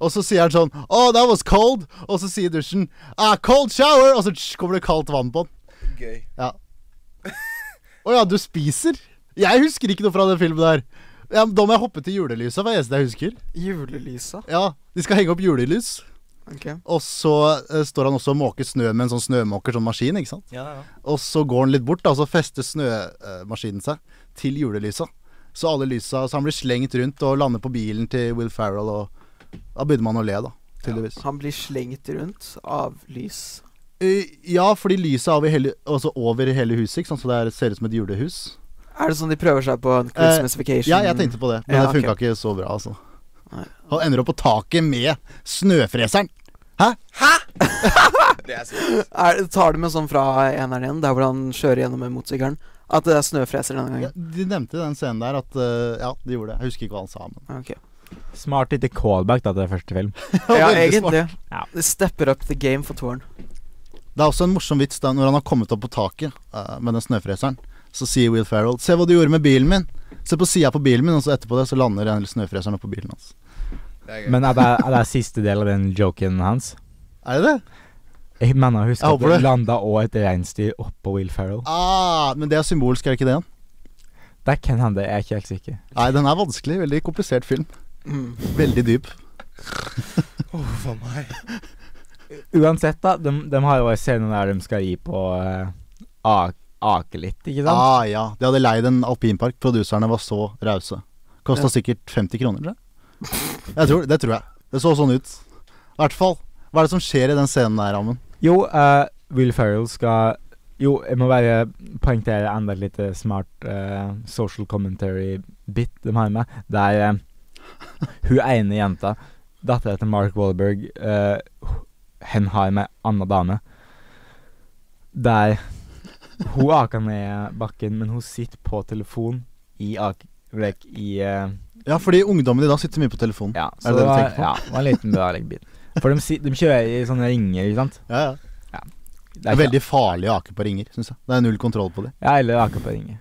S3: Og så sier han sånn Oh, that was cold. Og så sier dusjen ah, Cold shower. Og så tsj, kommer det kaldt vann på den.
S2: Gøy.
S3: Ja. Å ja, du spiser? Jeg husker ikke noe fra den filmen der. Ja, men da må jeg hoppe til julelysa, var det eneste jeg husker.
S1: Julelysa.
S3: Ja, De skal henge opp julelys.
S1: Ok.
S3: Og så eh, står han også og måker snø med en sånn snømåker, sånn maskin. ikke sant?
S2: Ja, ja.
S3: Og så går han litt bort, da, og så fester snømaskinen seg til julelysa. Så alle lysa, så han blir slengt rundt og lander på bilen til Will Ferrell, og da begynner man å le, da. Tydeligvis.
S1: Han blir slengt rundt av lys.
S3: Eh, Ja, fordi lyset er over hele, altså over hele huset, ikke sant? så det er, ser ut som et julehus.
S1: Er det sånn de prøver seg på en Christmas vacation?
S3: Eh, Ja, jeg tenkte på det, men
S1: Ja,
S3: det funka
S1: ok.
S3: ikke så bra, altså.
S1: Nei.
S3: Han ender opp på taket med snøfreseren.
S2: Hæ?! det er sant.
S1: er, Tar de med sånn fra eneren igjen, der hvor han kjører gjennom med motorsykkelen? At det er snøfreser denne
S3: Ja,
S1: gangen?
S3: de nevnte i den scenen der at eh, Ja, de gjorde det. Jeg husker ikke hva han sa, men
S1: Ok.
S4: Smart lite callback da, til det første film.
S1: Ja,
S3: Veldig smart.
S1: egentlig.
S4: Ja.
S1: Det stepper up the game for toeren.
S3: Det er også en morsom vits da når han har kommet opp på taket eh, med den snøfreseren. Så sier Will Ferrell 'Se hva du gjorde med bilen min'. Se på sida på bilen min, og så etterpå det så lander den snøfreseren oppå bilen hans.
S2: Det er gøy.
S4: Men er det, er det siste del av den joken hans?
S3: Er det det?
S4: Jeg mener jeg husker
S3: Jeg
S4: at
S3: håper
S4: det
S3: det.
S4: landa òg et reinsdyr oppå Will Ferrell.
S3: Ah, men det er symbolsk, er det ikke det?
S4: Det kan hende, jeg er ikke helt sikker.
S3: Nei, den er vanskelig. Veldig komplisert film.
S1: Mm.
S3: Veldig dyp.
S2: Åh, for meg.
S4: Uansett, da. De, de har jo en scene der de skal gi på eh, ak- ake litt, ikke sant?
S3: Ah, ja. De hadde leid en alpinpark. Produserne var så rause. Kosta
S1: Ja.
S3: sikkert 50 kroner, tror jeg. jeg tror, det tror jeg. Det så sånn ut. I hvert fall. Hva er det som skjer i den scenen der, Amund?
S4: Jo, eh, Will Ferrell skal Jo, jeg må bare poengtere enda et lite smart eh, social commentary-bit de har med. Der eh, hun ene jenta, dattera til Mark Wahlberg, eh, hun har med anna dame. Der hun aker ned bakken, men hun sitter på telefon i ak... Like, i eh,
S3: Ja, fordi ungdommen i dag sitter mye på telefonen.
S4: Ja,
S3: det det du
S4: var-
S3: tenker på?
S4: Ja, det var en liten bra leggbit. For de, si- de kjører i sånne ringer, ikke sant?
S3: Ja, ja. Det er
S4: ikke-
S3: veldig farlig å ake på ringer, syns jeg. Det er null kontroll på det.
S4: Ja, eller aker på ringer.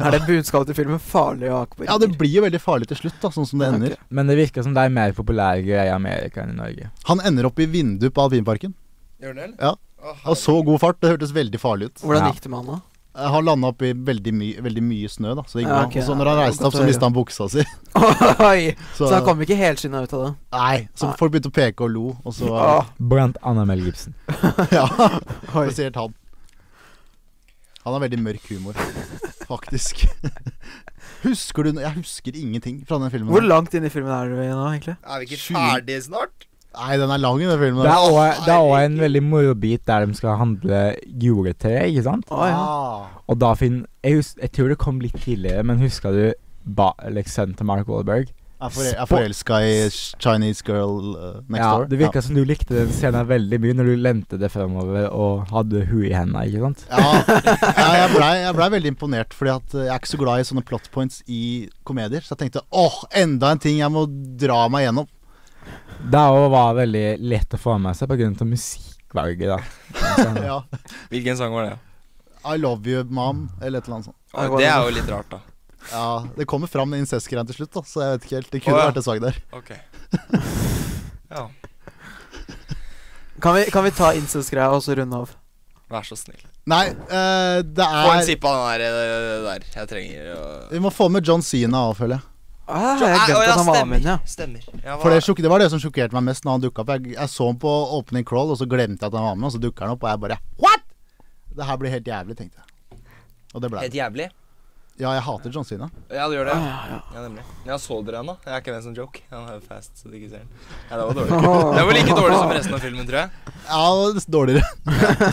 S1: Er det budskapet til filmen 'Farlig å ake på
S3: Ja, det blir jo veldig farlig til slutt, da, sånn som det ender.
S1: Ok.
S4: Men det virker som det er mer populære greier i Amerika enn i Norge.
S3: Han ender opp i vinduet på alpinparken.
S2: Gjør den det, eller?
S3: Ja.
S2: Å,
S3: Av så god fart. Det hørtes veldig farlig ut. Eh,
S1: Hvordan
S4: Ja.
S1: gikk det med han, da?
S3: Jeg har landa oppi veldig, my veldig mye snø, da. Så det gikk
S1: Ja,
S3: bra.
S1: ok,
S3: Og så
S1: ja, det
S3: når han
S1: var
S3: reiste
S1: godt
S3: opp, så
S1: å
S3: mista han buksa si.
S1: Oi!
S3: Så,
S1: Så han kom ikke helskinna ut av det.
S3: Nei, så
S1: Nei.
S3: folk begynte å peke og lo, og så
S1: Åh,
S4: Blant annet Mel Gibson.
S3: Ja,
S1: Oi.
S3: spesielt han. Han har veldig mørk humor, faktisk. Husker du no- Jeg husker ingenting fra den filmen.
S1: Hvor langt inn i filmen er vi nå, egentlig?
S2: Er vi ikke
S3: Sju.
S2: ferdige snart?
S3: Nei, den er lang, den filmen.
S4: Det er også- det er òg en veldig morobit der de skal handle juletre, ikke sant?
S1: Å ja.
S3: Ah,
S4: Og da fin... Jeg, hus jeg tror det kom litt tidligere, men husker du ba like, sønnen til Mark Wahlberg?
S3: jeg er forel- jeg er forelska i Chinese girl uh, next
S4: ja,
S3: door.
S4: Det virka som du likte den scenen veldig mye når du lente det fremover og hadde hun i hendene, ikke sant?
S3: Ja, ja jeg blei ble veldig imponert, Fordi at eh, jeg er ikke så glad i sånne plot points i komedier. Så jeg tenkte åh, enda en ting jeg må dra meg gjennom.
S4: Det òg var veldig lett å få med seg pga. musikkvalget, da. Så-
S3: Ja,
S2: Hvilken sang var det?
S3: I love you, mom, eller et eller annet sånt.
S1: Ja,
S2: Å, det er jo litt rart, da.
S3: Ja, Det kommer fram den incest-greia til slutt, da så jeg vet ikke helt. Det kunne
S2: Å, ja.
S3: vært en sak der.
S2: Ok. Ja,
S1: Kan vi, kan vi ta incest-greia og så runde av?
S2: vær så snill.
S3: Nei, eh, det
S2: Få en
S3: er
S2: sipp av den der, eh, der. Jeg trenger å
S3: Vi må få med John Sina òg, føler jeg.
S1: Ah, jeg har
S2: Å,
S1: glemt
S2: ja,
S1: at han var med
S2: stemmer.
S1: igjen, ja.
S2: Stemmer. Ja, hva-
S3: For det, sjok- det var det som sjokkerte meg mest når han dukka opp. Jeg, jeg så han på opening crawl, og så glemte jeg at han var med, og så dukker han opp, og jeg bare What?! Det her blir helt jævlig, tenkte jeg. Og det ble
S2: Helt
S3: det.
S2: jævlig.
S3: Ja, jeg hater John Sina.
S2: Ja, du gjør det?
S1: Ah,
S2: Ja,
S1: ja.
S2: ja nemlig. Ja, så dere den, da? Jeg er ikke med som joke. Han er jo fast, så du ikke ser den. Ja, det var dårlig. Det var like dårlig som resten av filmen, tror jeg.
S3: Ja, det er dårligere.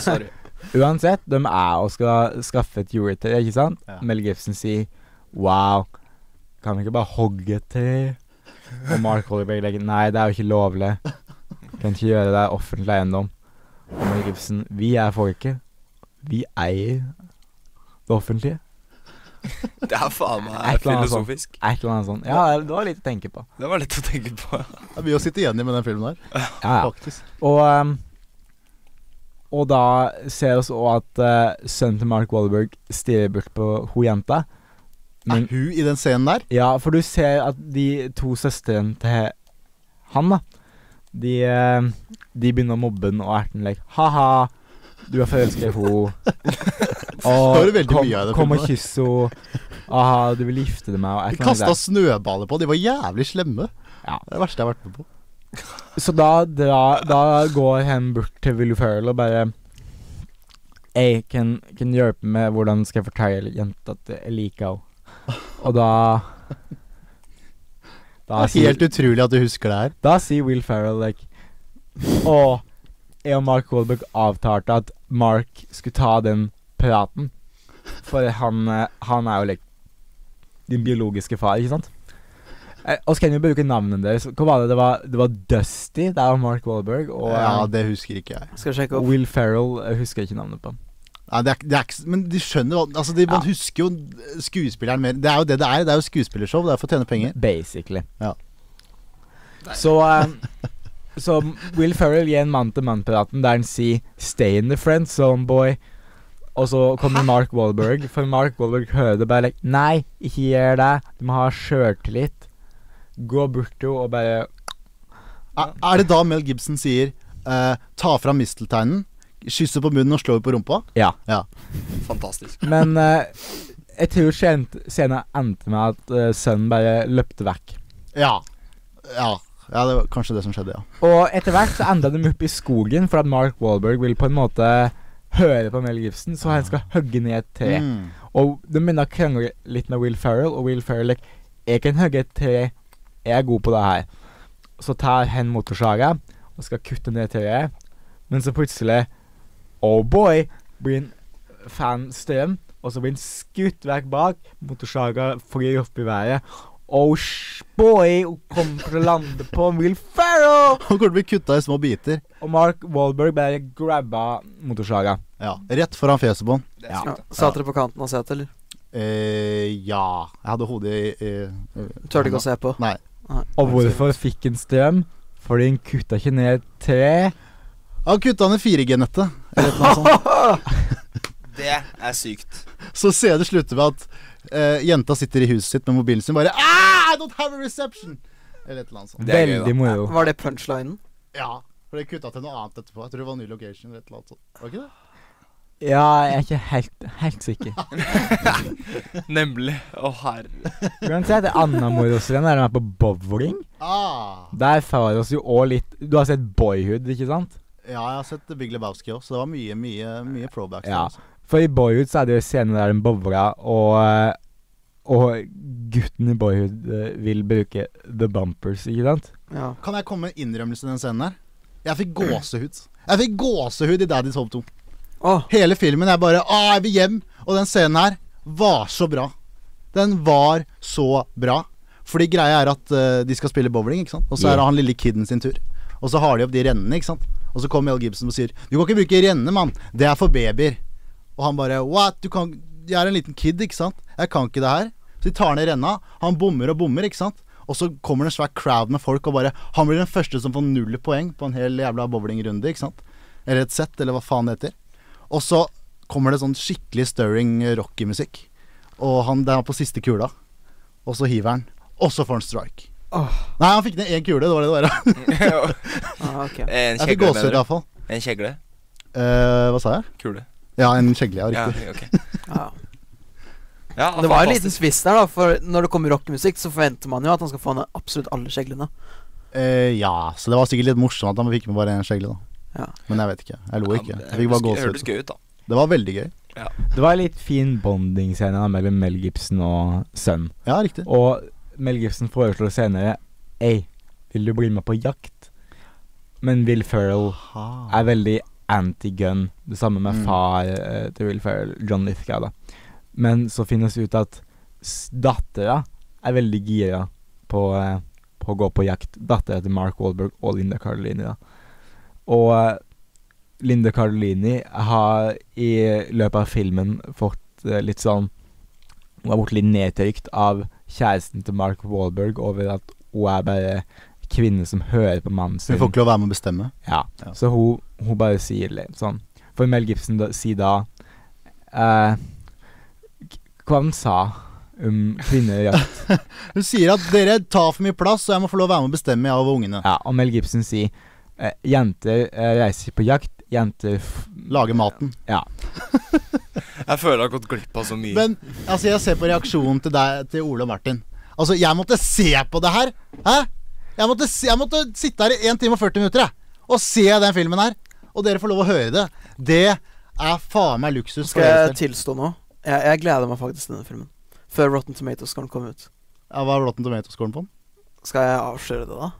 S2: Sorry.
S4: Uansett, de er og skal skaffe et juletre, ikke sant?
S3: Ja.
S4: Mel Gibson sier Wow, kan vi ikke bare hogge et tre? Og Mark Hollyberg legger Nei, det er jo ikke lovlig. Kan ikke gjøre det, det er offentlig eiendom. Og Mel Gibson Vi er folket. Vi eier det offentlige.
S2: Det er faen meg
S4: Et eller annet sånt.
S2: filosofisk.
S4: Et eller annet sånt. Ja, det var litt å tenke på.
S2: Det var lett å tenke på.
S3: Det er mye å sitte igjen i med den filmen her,
S4: Ja, ja.
S3: faktisk.
S4: Og ehm, Og da ser vi også at eh, sønnen til Mark Wahlberg stirrer bort på hun jenta.
S3: Er
S4: Men
S3: hun i den scenen der?
S4: Ja, for du ser at de to søstrene til han, da De, eh, de begynner å mobbe den og erten like Ha-ha, du er forelsket i henne.
S3: var det
S4: Og
S3: veldig
S4: kom,
S3: mye av det
S4: kom og
S3: filmen.
S4: kyss henne. Aha, du vil gifte deg med henne.
S3: De
S4: et eller annet
S3: kasta snøballer på, de var jævlig slemme.
S4: Ja.
S3: Det er det verste jeg har vært med på.
S4: Så da, dra, da går han bort til Will Ferrell og bare Ei, kan, kan du hjelpe med hvordan skal jeg fortelle jenta at jeg liker henne? Og da
S3: Det
S4: Da
S3: er helt utrolig at du husker det her.
S4: da sier Will Ferrell like Og jeg og Mark Wahlberg avtalte at Mark skulle ta den praten. For han, eh, han er jo like din biologiske far, ikke sant? Eh, Og så kan vi bruke navnene deres. Hva var det? Det var, det var Dusty. Det var Mark Wahlberg. Og
S3: Ja,
S4: eh,
S3: det husker ikke jeg.
S1: Skal sjekke opp.
S4: Will Ferrell eh, husker jeg ikke navnet på.
S3: Nei, det er, det er ikke, men de skjønner hva Altså, de, Man husker jo skuespilleren mer. Det er jo det det er. Det er jo skuespillershow. Det er for å tjene penger.
S4: Basically.
S3: Ja.
S4: Så eh, Så Will Ferrell gir en mann-til-mann-praten der han sier 'Stay in the friend zone, boy'. Og så kommer Mark Wahlberg, for Mark Wahlberg hører det bare like 'Nei, ikke gjør det. Du må ha sjøltillit'. Gå bort til henne og bare
S3: Er, er det da Mel Gibson sier eh, ta fram mistelteinen, kysse på munnen og slå på rumpa?
S4: Ja.
S2: Fantastisk.
S4: Men eh, jeg tror skjent- scenen endte med at eh, sønnen bare løpte vekk.
S3: Ja. Ja, ja det var kanskje det som skjedde, ja.
S4: Og etter hvert så enda de opp i skogen, for at Mark Wahlberg vil på en måte høre på Mel Gibson, så han skal hogge ned et tre.
S3: Mm.
S4: Og de begynner å krangle litt med Will Ferrell, og Will Ferrell like, 'Jeg kan hogge et tre. Jeg er god på det her.' Så tar han motorsaga og skal kutte ned treet, men så plutselig Oh boy! Blir en fan strøm, og så blir han skutt vekk bak. Motorsaga flyr opp i været. Oh sh- boy! Hun kommer til å lande på Will Ferrell!
S3: Han kommer til å bli kutta i små biter.
S4: Og Mark Wahlberg bare grabba motorsaga.
S3: Ja, Rett foran fjeset på han.
S2: Det
S1: Ja.
S2: er
S4: Ja.
S2: sykt, da.
S1: Satt dere på kanten av setet, eller?
S3: Eh, ja Jeg hadde hodet i eh,
S1: Turte ikke å se på.
S3: Nei.
S4: Og hvorfor fikk han strøm? Fordi han kutta ikke ned et tre.
S3: Han kutta ned 4G-nettet. eller et eller annet sånt.
S2: Det er sykt.
S3: Så ser det slutter med at eh, jenta sitter i huset sitt med mobilen sin bare «Ah, I don't have a reception! Eller et eller annet sånt.
S2: Det er gøy, da.
S4: Veldig moro.
S1: Var det punchlinen?
S3: Ja. For det kutta til noe annet etterpå. Jeg tror det var ny location eller et eller annet sånt. Var det ikke det?
S4: Ja, jeg er ikke helt, helt sikker.
S2: Nemlig. Å, herre.
S4: Uansett, det andre morosgreiene er de er på bowling.
S3: Ah.
S4: Der får oss jo òg litt Du har sett Boyhood, ikke sant?
S3: Ja, jeg har sett The Big Lebowski òg, så det var mye, mye, mye throwbacks. der,
S4: Ja.
S3: altså.
S4: For i Boyhood så er det jo scener der de bowler, og, og gutten i Boyhood eh, vil bruke the bumpers, ikke sant?
S1: Ja.
S3: Kan jeg komme med en innrømmelse i den scenen her? Jeg fikk gåsehud. Jeg fikk gåsehud i Daddy's Home 2.
S1: Åh,
S3: Hele filmen er bare Å, jeg vil hjem! Og den scenen her var så bra. Den var så bra. Fordi greia er at eh, de skal spille bowling, ikke sant. Og så
S4: Ja.
S3: er det han lille kiden sin tur. Og så har de opp de rennene, ikke sant. Og så kommer Mel Gibson og sier Du kan ikke bruke renne, mann. Det er for babyer. Og han bare What? Du kan Jeg er en liten kid, ikke sant. Jeg kan ikke det her. Så de tar ned renna. Han bommer og bommer, ikke sant. Og så kommer det en svær crowd med folk, og bare Han blir den første som får null poeng på en hel jævla bowlingrunde, ikke sant. Eller et sett, eller hva faen det heter. Og så kommer det sånn skikkelig stirring eh, Rocky-musikk. Og han det er på siste kula. Og så hiver han. Og så får han strike.
S1: Åh.
S3: Nei, han fikk ned én kule. Det var det det var.
S1: ah, ok.
S2: en
S3: Jeg fikk
S2: kjegle,
S3: gåsehud
S2: mener du?
S3: iallfall.
S2: En kjegle?
S3: Uh, hva sa jeg?
S2: Kule.
S3: Ja, en kjegle. Ja,
S2: Ja,
S3: riktig.
S2: ok.
S1: Ja.
S2: Ja,
S1: Det var en liten
S2: fantastisk.
S1: spiss der, da. For når det kommer rockemusikk, så forventer man jo at han skal få ned absolutt alle skjeglene.
S3: Eh, ja, så det var sikkert litt morsomt at han fikk med bare én skjegle, da.
S1: Ja.
S3: Men jeg vet ikke. Jeg lo ikke.
S2: Ja, men
S3: Jeg fikk bare
S2: det hørtes-
S3: gåsehud.
S2: hørtes gøy ut, da.
S3: Det var veldig gøy.
S4: Det var en litt fin bonding-scene da, mellom Mel Gibson og sønnen.
S3: Ja, riktig.
S4: Og Mel Gibson foreslår senere Ei, vil du bli med på jakt? Men Will Ferrell
S3: Aha.
S4: er veldig anti-gun. Det samme med
S3: Mm.
S4: far eh, til Will Ferrell, John Lithgow, da. Men så finnes det ut at s- dattera er veldig gira på, eh, på å gå på jakt. Dattera til Mark Wahlberg og Linda Cardellini, da. Og eh, Linda Cardellini har i løpet av filmen fått eh, litt sånn Hun har blitt litt nedtrykt av kjæresten til Mark Wahlberg over at hun er bare kvinne som hører på mannen sin.
S3: Vi får ikke lov å være med å bestemme.
S4: Ja.
S3: Ja.
S4: Så hun, hun bare sier litt sånn For Mel Gibson da, sier da eh, k- Hva han sa om kvinner i jakt.
S3: Hun sier at dere tar for mye plass, og jeg må få lov å være med å bestemme, jeg og ungene.
S4: Ja, og Mel Gibson sier eh, Jenter eh, reiser på jakt, jenter f
S3: Lage maten.
S2: Jeg føler jeg har gått glipp av så mye.
S3: Men altså, jeg ser på reaksjonen til deg Til Ole og Martin. Altså, jeg måtte se på det her. Hæ? Jeg måtte, se, jeg måtte sitte her i 1 time og 40 minutter jeg, og se den filmen her. Og dere får lov å høre det. Det er faen meg luksus. for
S1: Skal jeg
S3: deres del.
S1: tilstå nå? Jeg, jeg gleder meg faktisk til denne filmen. Før Rotten Tomatoes kan komme ut.
S3: Ja, Hva er Rotten Tomatoes-scoren på den?
S1: Skal jeg avsløre det, da?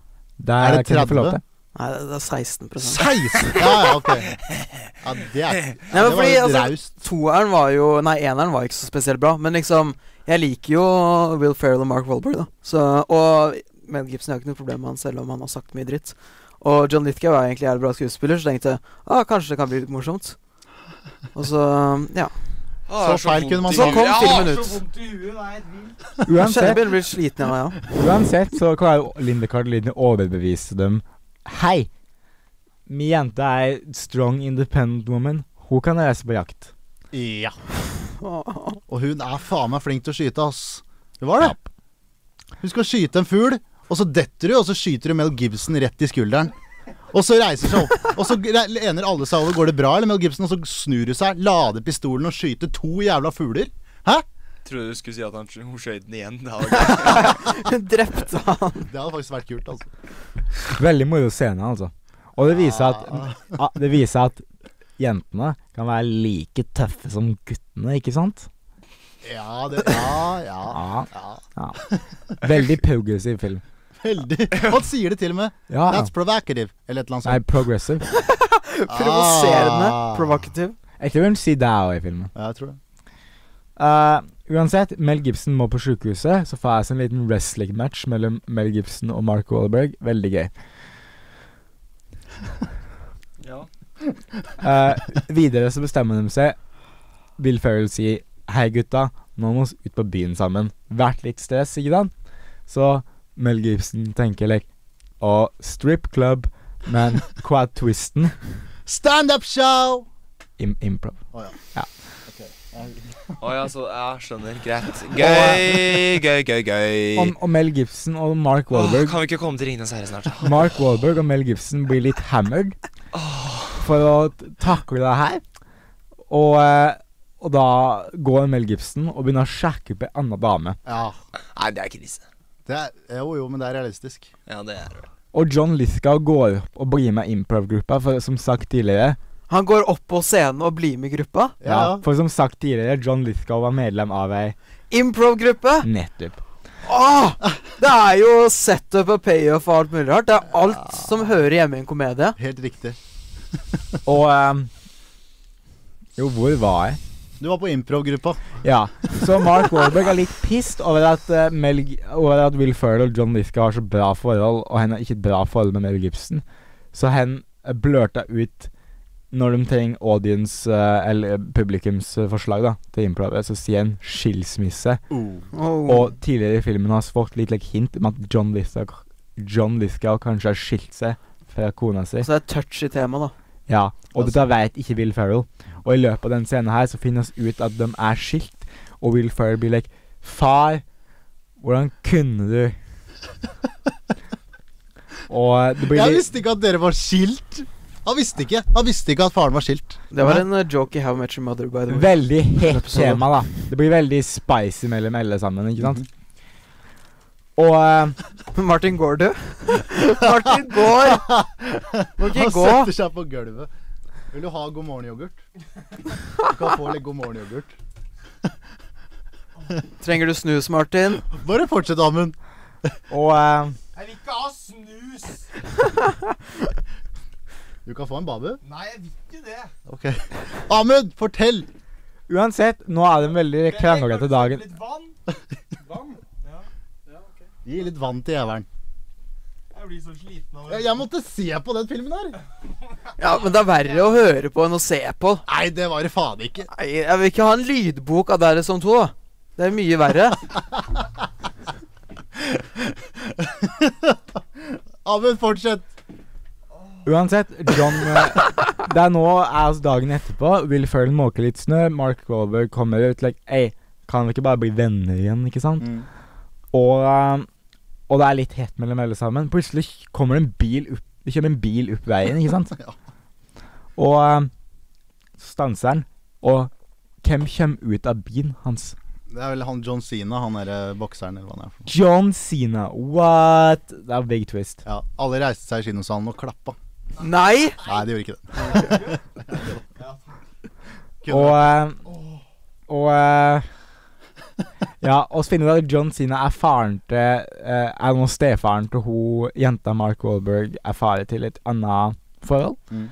S4: Der
S3: Er det
S4: kan du få lov
S3: 30?
S4: til.
S1: Nei, det, det er 16
S3: 16! Ja, ja, ok. Ja, det er
S1: Nei,
S3: Det
S1: men
S3: var
S1: fordi,
S3: litt
S1: altså,
S3: raust.
S1: Toeren var jo Nei, eneren var ikke så spesielt bra. Men liksom, jeg liker jo Will Ferrell og Mark Wahlberg, da. Så, og Mel Gibson jeg har ikke noe problem med han, selv om han har sagt mye dritt. Og John Lithgow er egentlig jævlig bra skuespiller, så tenkte jeg ah, kanskje det kan bli litt morsomt. Og så ja.
S2: Å, Ah, jeg har
S3: så feil kunne man
S2: vondt i
S1: Så kom
S2: huet. Jeg
S1: filmen
S2: har
S1: ut.
S2: så vondt i huet, det er helt vilt.
S1: Jeg kjenner jeg
S4: Uansett,
S1: begynner å bli sliten av meg òg.
S4: uansett så klarer jo Linda Cardellini å overbevise dem. Hei! Mi jente er strong, independent woman. Hun kan reise på jakt.
S3: Ja.
S1: Ja.
S3: Og hun er faen meg flink til å skyte, ass. Hun var det. Hun skal skyte en fugl, og så detter hun, og så skyter hun Mel Gibson rett i skulderen. Og så reiser hun seg opp, og så re- lener alle seg over. Går det bra, eller Mel Gibson? Og så snur hun seg, lader pistolen og skyter to jævla fugler. Hæ?
S2: Trodde du skulle si at han, hun skjøt den igjen. Det hadde vært-
S1: Drepte han.
S3: Det hadde faktisk vært kult, altså.
S4: Veldig moro scene, altså. Og det viser at, ah, det viser at jentene kan være like tøffe som guttene, ikke sant?
S3: Ja, det Ja, ja.
S4: Ja.
S3: ja.
S4: ja. Ah, Veldig progressiv film.
S3: Veldig. Han sier det til og med.
S4: Ja. ja.
S3: That's provocative, eller et eller
S4: Nei,
S3: annet sånt.
S4: progressive.
S1: Provoserende.
S3: Ah.
S1: Provocative.
S4: Jeg tror hun sier det òg i filmen.
S3: Ja, jeg tror det.
S4: Eh, uansett, Mel Gibson må på sjukehuset, så får jeg oss en liten wrestling-match mellom Mel Gibson og Mark Wahlberg. Veldig gøy.
S2: ja.
S4: Eh, videre så bestemmer de seg. Bill Ferrell sier 'Hei, gutta, nå må vi ut på byen sammen'. Vært litt stress, ikke sant? Så Mel Gibson tenker like Å, strip club, men hva er twisten?
S3: Standup show!
S4: Im improv.
S2: Å ja, så jeg skjønner. Greit. Gøy, gøy, gøy, gøy.
S4: Og, og Mel Gibson og Mark
S2: Åh,
S4: Wahlberg
S2: kan vi ikke komme til Ringenes herre snart? da?
S4: Mark Wahlberg og Mel Gibson blir litt hammered for å t- takle det her. Og, eh, og da går Mel Gibson og begynner å sjekke opp ei anna dame.
S3: Ja.
S2: Nei, det er krise.
S3: Det er, jo, jo, men det er realistisk.
S2: Ja, det er det.
S4: Og John Lithgow går opp og blir med i improv-gruppa, for som sagt tidligere
S1: Han går opp på scenen og blir med i gruppa.
S4: ja,
S3: Ja,
S4: For som sagt tidligere, John Lithgow var medlem av ei
S1: Improv-gruppe!
S4: nettopp.
S1: Åh! Det er jo setup og payoff og alt mulig rart. Det er alt som hører hjemme i en komedie.
S3: Helt riktig.
S4: Og eh, Jo, hvor var jeg?
S3: Du var på improv-gruppa.
S4: Ja. Så Mark Warburg er litt pissed over at, eh, Mel, G- over at Will Ferrell og John Lithgow har så bra forhold, og han har ikke et bra forhold med Mel Gibson. Så han eh, blørta ut når de trenger audience, eh, eller eh, publikums eh, forslag da, til improvet, så sier han skilsmisse.
S1: Oh.
S3: Oh.
S1: Mm.
S4: Og tidligere i filmen har vi fått litt like, hint om at John Lithgow, John Lithgow kanskje har skilt seg fra kona si.
S1: Så det er touch i temaet, da.
S4: Ja, og dette vet ikke Will Ferrell. Og i løpet av den scenen her så finnes ut at de er skilt, og Will Ferrell blir like Far, hvordan kunne du Og det blir
S3: Jeg
S4: litt
S3: visste ikke at dere var skilt! Han visste ikke Han visste ikke at faren var skilt.
S1: Det var en eh, joke i How I Met Your Mother, by the way.
S4: veldig hett
S1: Episode.
S4: tema, da. Det blir veldig spicy mellom alle sammen, ikke sant? Og eh,
S1: Martin, går du? Martin går! Må ikke
S3: Han
S1: gå.
S3: setter seg på gulvet. Vil du ha god morgen-yoghurt? Du kan få litt god morgen-yoghurt.
S1: Trenger du snus, Martin?
S3: Bare fortsett, Amund.
S4: Og eh,
S2: Jeg vil ikke ha snus!
S3: Du kan få en babu.
S2: Nei, jeg vil ikke det.
S3: Ok. Amund, fortell!
S4: uansett, nå er det en veldig kranglete dagen.
S2: Litt vann. Vann? Ja.
S3: Gi litt vann til jævelen.
S2: Jeg blir så sliten av
S3: Jeg, jeg måtte se på den filmen her.
S1: Ja, men det er verre å høre på enn å se på.
S3: Nei, det var det faen ikke.
S1: Nei, jeg vil ikke ha en lydbok av dere som to. da. Det er mye verre.
S3: Amund, fortsett.
S4: Uansett, John eh, Det er nå er oss dagen etterpå. Will Ferrell måker litt snø. Mark Wahlberg kommer ut like Ei, kan vi ikke bare bli venner igjen, ikke sant?
S3: Mm.
S1: Mm.
S4: Og, eh, og det er litt hett mellom alle sammen. Plutselig kommer det en bil opp Det kommer en bil opp veien, ikke sant?
S3: Ja.
S4: Og eh, så stanser han. Og hvem kommer ut av bilen hans?
S3: Det er vel han John Sina, han derre bokseren, eller hva han er. for noe.
S4: John Sina. What? Det er big twist.
S3: Ja, Alle reiste seg i kinosalen og klappa.
S1: Nei!
S3: Nei, de gjorde ikke det. Kunne
S4: Og eh, Og eh, Ja, og så finner vi at John Sina er faren til eh, Er nå stefaren til hun jenta Mark Wahlberg er fare til et annet forhold.
S3: Mm.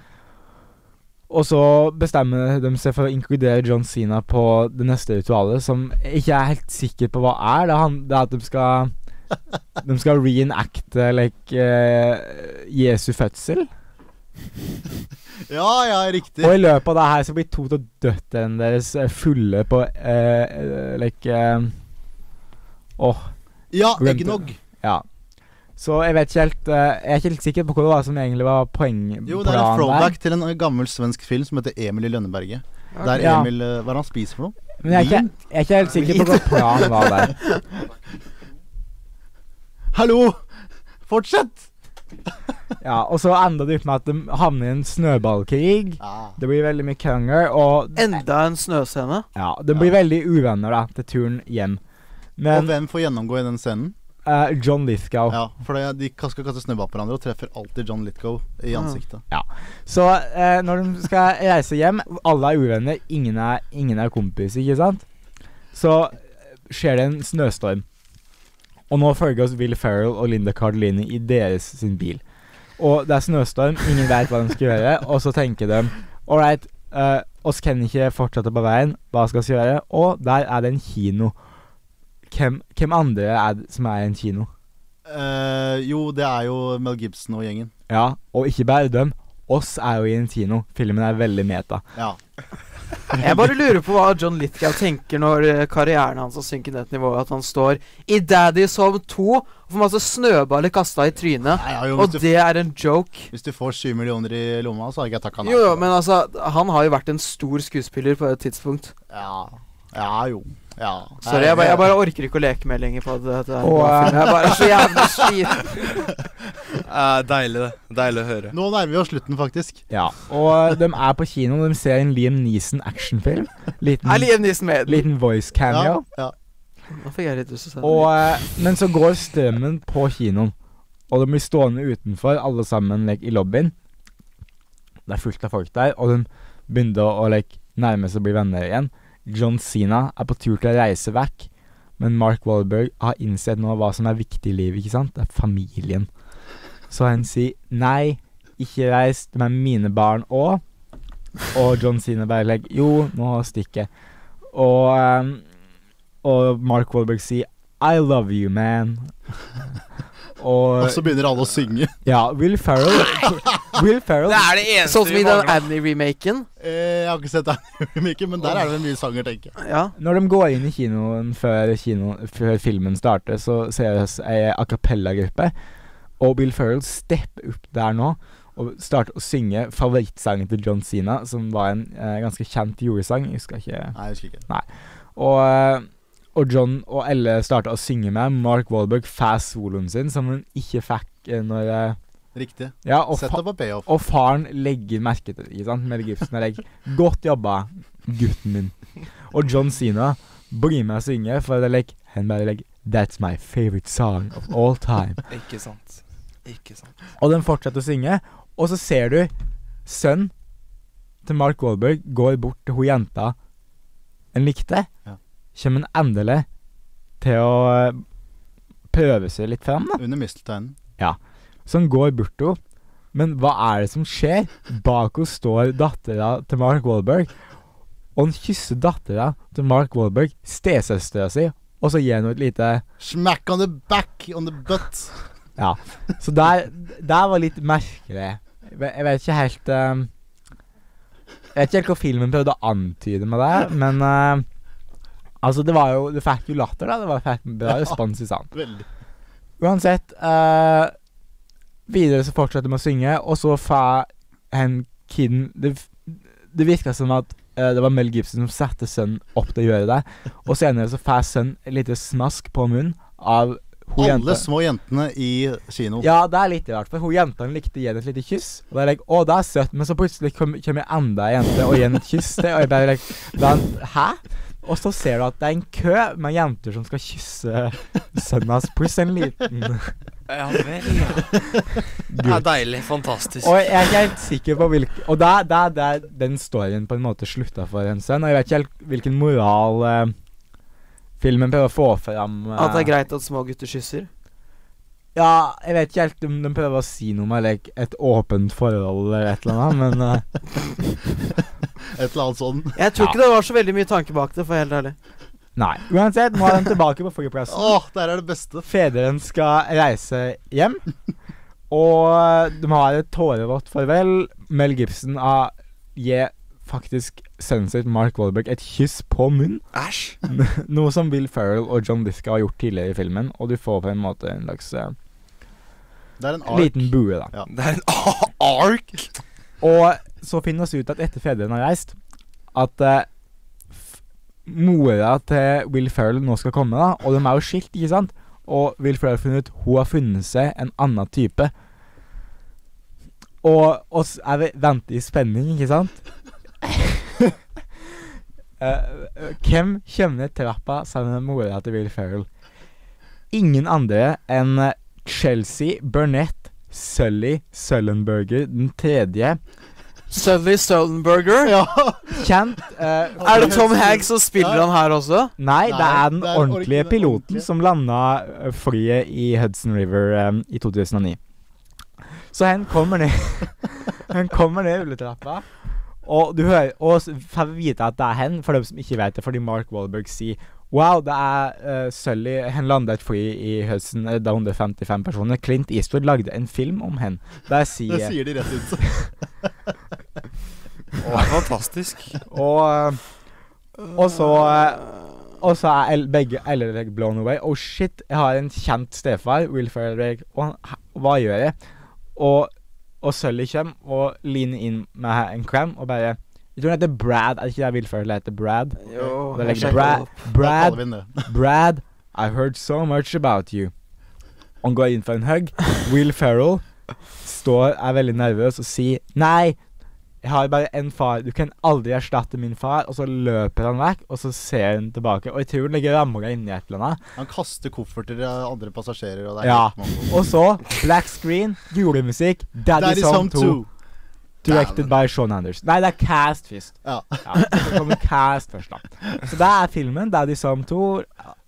S4: Og så bestemmer de seg for å inkludere John Sina på det neste ritualet, som jeg ikke er helt sikker på hva er. Det er, han, det er at de skal De skal reenacte like, eh, Jesu fødsel.
S3: Ja, ja, riktig.
S4: Og i løpet av det her så blir to av døtrene deres eh, fulle på eh, eh, like, eh,
S3: Ja,
S4: Glemte.
S3: eggnog.
S4: Ja. Så jeg vet ikke helt eh, Jeg er ikke helt sikker på hva det var som egentlig var poengplanen
S3: Jo, det er en
S4: der.
S3: throwback til en gammel svensk film som heter Emil i Lønneberget. Der
S4: Ja.
S3: Emil eh, Hva er det han spiser for noe?
S4: Men jeg er,
S3: Vin?
S4: ikke, jeg er ikke helt sikker på hva planen var der.
S3: Hallo! Fortsett!
S4: Ja, Og så ender det opp med at de havner i en snøballkrig. Det blir veldig mye krangel, og
S1: Enda en snøscene.
S4: ja, de blir veldig uvenner da til turen hjem.
S3: Og
S4: Men
S3: hvem får gjennomgå i den scenen?
S4: eh, John Lithgow
S3: Ja, for det- de skal kaste snøball på hverandre og treffer alltid John Litgo i
S1: Ah.
S3: ansiktet.
S4: Så eh, når de skal reise hjem, alle er uvenner, ingen er, ingen er kompis, ikke sant? Så eh, skjer det en snøstorm. Og nå følger oss Will Ferrell og Linda Cardellini i deres sin bil. Og det er snøstorm, ingen vet hva de skal gjøre, og så tenker de All right, eh, oss kan ikke fortsette på veien, hva skal vi gjøre? Og der er det en kino. Hvem, hvem andre er det som er i en kino?
S3: Eh, jo, det er jo Mel Gibson og gjengen.
S4: Ja, og ikke bare dem. Oss er jo i en kino. Filmen er veldig meta.
S3: Ja.
S1: Jeg bare lurer på hva John Lithgow tenker når eh, karrieren hans har synket ned til nivået at han står i Daddy som to og får masse snøballer kasta i trynet.
S3: Nei, ja jo,
S1: Og
S3: hvis, du,
S1: det er en joke.
S3: hvis du får 7 millioner i lomma, så har ikke jeg takka nei.
S1: Jo, jo, men altså, han har jo vært en stor skuespiller på et tidspunkt.
S3: Ja. ja jo. Ja.
S1: Sorry, jeg, bare- jeg bare orker ikke å leke med lenger på det- dette. her.
S4: Og, eh,
S1: Jeg er bare så jævlig sliten.
S2: Eh, deilig, det. Deilig å høre.
S3: Nå nærmer vi oss slutten, faktisk.
S4: Ja. Og de er på kino, de ser en Liam Neeson actionfilm. Liten,
S1: Er Liam Neeson med i den?
S4: liten voice cameo.
S3: ja.
S1: Nå fikk jeg litt lyst til å se den.
S4: Og, eh, men så går strømmen på kinoen, og de blir stående utenfor, alle sammen like, i lobbyen. Det er fullt av folk der, og de begynner å like, nærme seg å bli venner igjen. John Sina er på tur til å reise vekk, men Mark Wahlberg har innsett nå hva som er viktig i livet, ikke sant? Det er familien. Så han sier nei, ikke reis, de er mine barn òg. Og John Sina bare like, jo, nå stikker jeg. Og, eh, og Mark Wahlberg sier i love you, man.
S3: Og
S4: Og
S3: så begynner alle å synge.
S4: Ja, Will Ferrell Will Ferrell
S2: Det er det eneste
S1: Sånn som i
S2: vi
S1: den
S2: mangler.
S1: Annie-remaken.
S3: Eh, jeg har ikke sett Annie-remaken, men der er det mye sanger, tenker jeg.
S1: Ja.
S4: Når de går inn i kinoen før, kino, før filmen starter, så ser vi ei a cappella-gruppe. Og Will Ferrell stepper opp der nå og starter å synge favorittsangen til John Sina, som var en eh, ganske kjent julesang. Jeg husker ikke
S3: Nei, jeg husker ikke.
S4: Og, eh, og John og Elle starter å synge med. Mark Wahlberg får soloen sin, som hun ikke fikk eh, når eh,
S3: Riktig.
S4: Ja, og
S3: Sett
S4: fa-
S3: deg på payoff.
S4: Og faren legger merke til det. ikke sant? Mel Gibson er like, 'Godt jobba, gutten min'. Og John Sina blir med og synger, for det er like, han bare like, 'That's my favorite song of all time'.
S2: Ikke sant. Ikke sant.
S4: Og den fortsetter å synge, og så ser du sønnen til Mark Wahlberg går bort til hun jenta en likte.
S3: Ja.
S4: Kommer han endelig til å eh, prøve seg litt fram, da?
S3: Under mistelteinen.
S4: som går bort til henne. Men hva er det som skjer? Bak henne står dattera til Mark Wahlberg. Og hun kysser dattera til Mark Wahlberg, stesøstera si, og så gir hun henne et lite
S3: Smack on the back on the butt.
S4: Ja. Så der, der var litt merkelig. Jeg ve- jeg vet ikke helt eh, Jeg vet ikke helt hva filmen prøvde å antyde med det, men eh, Altså, det var jo Det fikk jo latter, da. Det var fikk bra respons i salen.
S3: Veldig.
S4: Uansett eh, Videre så fortsetter de å synge, og så fa hen kiden Det, det virka som at eh, det var Mel Gibson som satte sønnen opp til å gjøre det. Og senere så får sønnen et lite smask på munnen av hun
S3: Alle
S4: jenta.
S3: små jentene i kino.
S4: Ja, det er litt rart, for hun jenta likte å gi henne et lite kyss. Og det er like, å, det er søtt, men så plutselig kom- kommer enda ei jente og gir henne et kyss til. Og jeg bare like, da, hæ? Og så ser du at det er en kø med jenter som skal kysse sønnen hans, pluss en liten
S2: Ja vel. Det er deilig. Fantastisk.
S4: Og jeg er ikke helt sikker på hvilken Og der, der, der den storyen på en måte slutta for en sønn. Og jeg vet ikke helt hvilken moral eh, filmen prøver å få fram. eh.
S1: At det er greit at små gutter kysser.
S4: Ja, jeg vet ikke helt om de prøver å si noe med like, et åpent forhold eller et eller annet, men eh,
S3: Et eller annet sånn.
S1: Jeg tror ikke det var så veldig mye tanke bak det, for å være helt ærlig.
S4: nei. Uansett, nå er de tilbake på flyplassen.
S3: Åh, der er det beste.
S4: Fedren skal reise hjem, og eh, de har et tårevått farvel. Mel Gibson har gir faktisk sønnen sin Mark Wahlberg et kyss på munnen.
S2: Æsj.
S4: Noe som Will Ferrell og John Diska har gjort tidligere i filmen, og du får på en måte en slags eh,
S3: Det er en ark.
S4: liten bue, da.
S2: Det er en a- ark.
S4: Og så finner vi ut at etter fedrene har reist, at eh, f- mora til Will Ferrell nå skal komme, da, og de er jo skilt, ikke sant? Og Will Ferrell har funnet ut hun har funnet seg en annen type. Og oss er vi venter i spenning, ikke sant? Eh, hvem kommer ned trappa sammen med mora til Will Ferrell? Ingen andre enn eh, Chelsea, Burnett, Sully, Sullenberger den tredje.
S1: Sully Sullenberger.
S3: Ja.
S4: Kjent eh,
S1: Er det Tom Hanks som spiller han her også?
S4: Nei, det er den
S3: Nei, det er den
S4: ordentlige
S3: ordentlige-
S4: piloten
S3: ordentlige.
S4: som landa eh, flyet i Hudson River eh, i 2009. Så han kommer ned Han kommer ned rulletrappa, og du hører Og s- får vite at det er han, for dem som ikke vet det, fordi Mark Wahlberg sier Wow, det er eh, Sully Han landa et fly i Hudson eh, da 155 personer. Clint Eastwood lagde en film om han. Der
S3: Det
S4: sier
S3: sier de rett ut.
S2: Det er fantastisk.
S4: Og eh, Og så, eh, Og så er el- begge eller like, blown away. Oh shit, jeg har en kjent stefar, Will Ferrell Drake, og han- hæ, hva gjør jeg? Og, og Sully kommer og leaner inn med en klem og bare Jeg tror han heter Brad, er det ikke det Will Ferrell heter? Brad?
S1: Jo,
S4: Det
S1: jeg
S4: er like
S1: sjekker det
S4: Brad,
S1: opp.
S3: Da
S4: Brad
S3: kaller vi den det.
S4: Brad, I heard so much about you. Han går inn for en hug. Will Ferrell står, er veldig nervøs og sier Nei, jeg har bare en far. Du kan aldri erstatte min far. Og så løper han vekk, og så ser hun tilbake. Og jeg tror hun legger ramla inni et eller annet.
S3: Han kaster kofferter av andre passasjerer, og det er
S4: Ja.
S3: helt mongo.
S4: Og så black screen, julemusikk, Daddy,
S3: Daddy
S4: Song
S3: Song
S4: 2.
S3: 2.
S4: Directed
S3: Dæven.
S4: by Sean Anders. Nei, det er Cast først.
S3: Ja.
S4: Ja, så kommer Cast først, da. Så det er filmen. Daddy Song 2.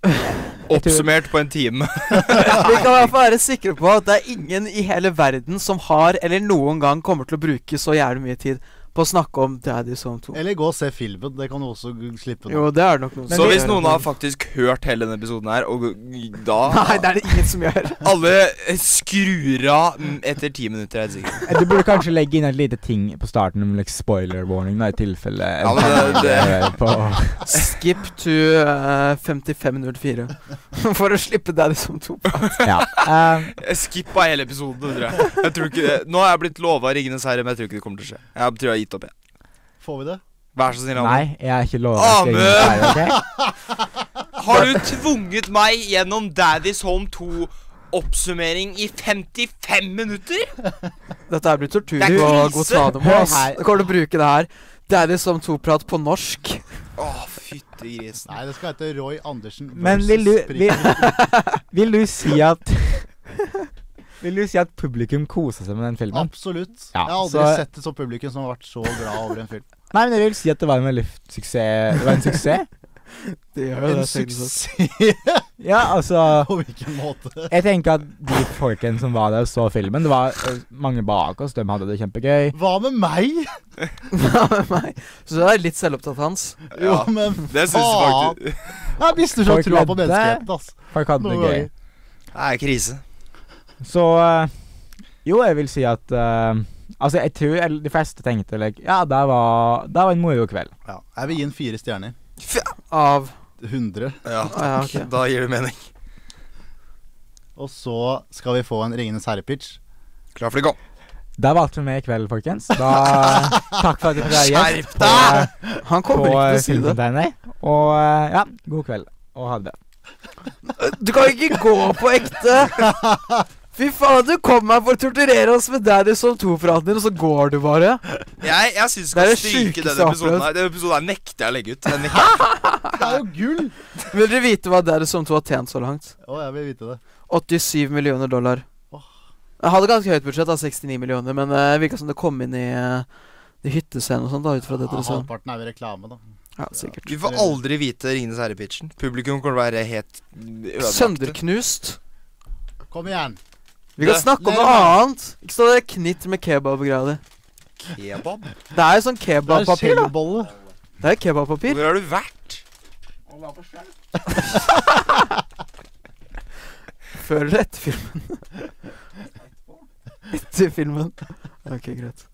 S4: Jeg tror-
S2: Oppsummert på en time.
S1: Vi kan i hvert fall være sikre på at det er ingen i hele verden som har, eller noen gang kommer til å bruke så jævlig mye tid på å snakke om Daddy Song 2.
S3: Eller gå og se filmen. Det kan du også g- slippe nå.
S1: Jo, det er det nok noen
S4: Men
S2: Så
S1: som
S2: hvis
S1: gjør,
S2: noen
S1: men-
S2: har faktisk hørt hele denne episoden her, og
S1: Nei,
S2: da
S1: det er det ingen som gjør.
S2: Alle skrur av mm, etter ti minutter, er jeg sikker.
S4: Du burde kanskje legge inn et lite ting på starten om like, spoiler warning, da, i tilfelle
S2: Ja, men det- det-
S4: på,
S1: Skip to eh, 5504 for å slippe Daddy Song 2.
S4: ja. Eh,
S2: Jeg skippa hele episoden, tror jeg. jeg tror ikke det. Nå har jeg blitt lova Ringenes herre, men jeg tror ikke det kommer til å skje. Jeg tror jeg har gitt opp, jeg.
S3: Får vi det?
S2: Vær så snill, Amund.
S4: nei, jeg er ikke lova
S2: Amund! Har du tvunget meg gjennom Daddy's Home 2-oppsummering i 55 minutter?
S1: Dette her blir tortur
S2: Det er
S1: på
S2: krise.
S1: godt Sademo.
S4: Hør
S1: ass.
S4: her.
S1: Du Kommer til å bruke det her. Daddy Song 2-prat på norsk.
S2: Å, fytti grisen.
S3: Nei, det skal hete Roy Andersen
S4: Men vil du, vil, vil du si at Vil du si at publikum koser seg med den filmen?
S3: Absolutt.
S4: Ja,
S3: Jeg har aldri
S4: så-
S3: sett et sånt publikum som har vært så glad over en film.
S4: Nei, men jeg vil si at det var en veldig f- suksess. Det var en suksess.
S1: Det gjør
S3: En
S1: det, tenker jeg.
S3: suksess
S4: Ja, altså
S3: på hvilken måte?
S4: Jeg tenker at de folkene som var der og så filmen Det var eh, mange bak oss, de hadde det kjempegøy.
S3: Hva med meg?
S1: Ja, men nei. Så det er litt selvopptatt hans.
S3: Jo,
S2: Ja,
S3: men
S2: det syns jeg faktisk.
S3: jeg mister så
S4: Folk
S3: troa på
S4: ledde.
S3: menneskeheten, ass.
S4: Folk hadde
S3: Noen
S4: det gøy.
S3: ganger.
S2: Det er krise.
S4: Så eh, Jo, jeg vil si at eh, Altså, jeg tror el- de fleste tenkte like, Ja, det var, det var en moro kveld.
S3: Ja, jeg vil gi den fire stjerner.
S1: Av
S3: 100.
S2: Ja,
S1: Ah, ja, ok.
S2: da gir det mening.
S3: Og så skal vi få en Ringenes herre-pitch.
S2: Klar for det, gå.
S4: Det var alt for meg i kveld, folkens. Da, takk for at dere var gjest
S2: Skjerp
S4: på, eh,
S1: Han
S4: på
S1: kommer ikke til å si det.
S4: Filmcontainer. Og eh, ja, god kveld. Og ha det.
S1: Du kan ikke gå på ekte! Fy faen, du kom her for å torturere oss med Daddy Song 2-praten din, og så går du bare.
S2: Jeg, jeg syns du
S1: Det er
S2: skal
S1: det
S2: stryke
S1: sjukeste
S2: denne episoden.
S1: opplegget.
S2: her Denne episoden her nekter jeg å legge ut. Jeg nekter.
S3: Det er jo gull!
S1: Vil dere vite hva Daddy Song 2 har tjent så langt?
S3: Å, jeg vil vite det.
S1: 87 millioner dollar.
S3: Åh.
S1: Jeg hadde ganske høyt budsjett, da, 69 millioner, men eh, det virka som det kom inn i eh, i hyttescenen og sånt, da, ut fra det
S3: Ja,
S1: dere sa.
S3: halvparten er jo reklame, da.
S1: Ja, sikkert.
S2: Vi får aldri vite Ringenes herre-pitchen. Publikum kommer til å være helt ødelagte.
S1: Sønderknust.
S3: Kom igjen.
S1: Vi kan
S2: Det-
S1: snakke om
S3: det er
S1: noe
S3: meg.
S1: annet. Ikke stå der og knitt med kebabgreia di.
S2: Kebab?
S1: Det er jo sånn
S3: Det er
S1: kebabpapir, da.
S3: skjellbolle.
S1: Det er jo kebabpapir.
S2: Hvor har du vært?
S1: Før eller etter filmen? etter filmen. Ok, greit.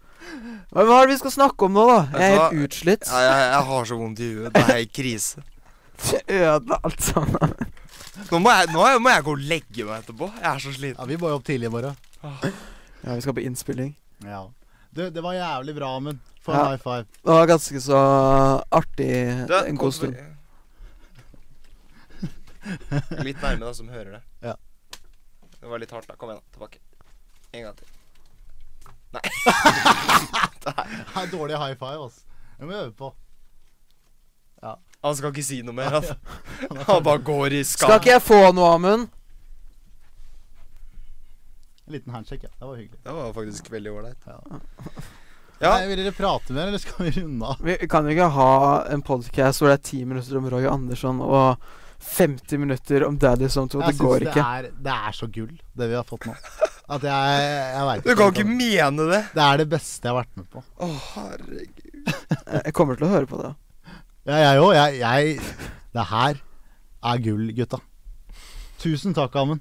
S1: Men hva er det vi skal snakke om nå, da? Jeg er
S2: Vet du
S1: helt utslitt.
S2: Ja, jeg, jeg har så vondt i huet. Det er helt krise.
S1: Ødela alt sammen.
S2: Nå må jeg, nå må jeg gå og legge meg etterpå. Jeg er så sliten.
S3: Ja, vi må jo opp tidlig i morgen.
S1: Ja, vi skal på innspilling.
S3: Ja. Du, det var jævlig bra, Amund. Få en
S1: Ja.
S3: high five.
S1: Det var ganske så artig en god stund.
S2: Litt nærme, da, som hører det.
S3: Ja.
S2: Det var litt hardt, da. Kom igjen, da. Tilbake. En gang til.
S3: Det er dårlig high five, ass. Det må vi øve på.
S2: Han skal ikke si noe mer. Han, han bare går i skam.
S1: Skal ikke jeg få noe, Amund?
S3: En liten handshake, ja. Det var hyggelig.
S2: Det var faktisk veldig ålreit.
S3: Ja.
S2: Ja.
S3: Nei, vil dere prate mer, eller skal vi runde av?
S1: Vi kan jo ikke ha en podcast hvor det er ti minutter om Roy Andersson og 50 minutter om Daddy som to. Det
S3: Jeg
S1: går
S3: synes
S1: ikke.
S3: Det er, det er så gull, det vi har fått nå. At jeg, jeg vet
S2: Du kan ikke mene det!
S3: Det er det beste jeg har vært med på.
S2: Å, herregud.
S1: Jeg kommer til å høre på det.
S3: Ja, jeg òg. Jeg, jeg Det her er gull, gutta. Tusen takk, Amund.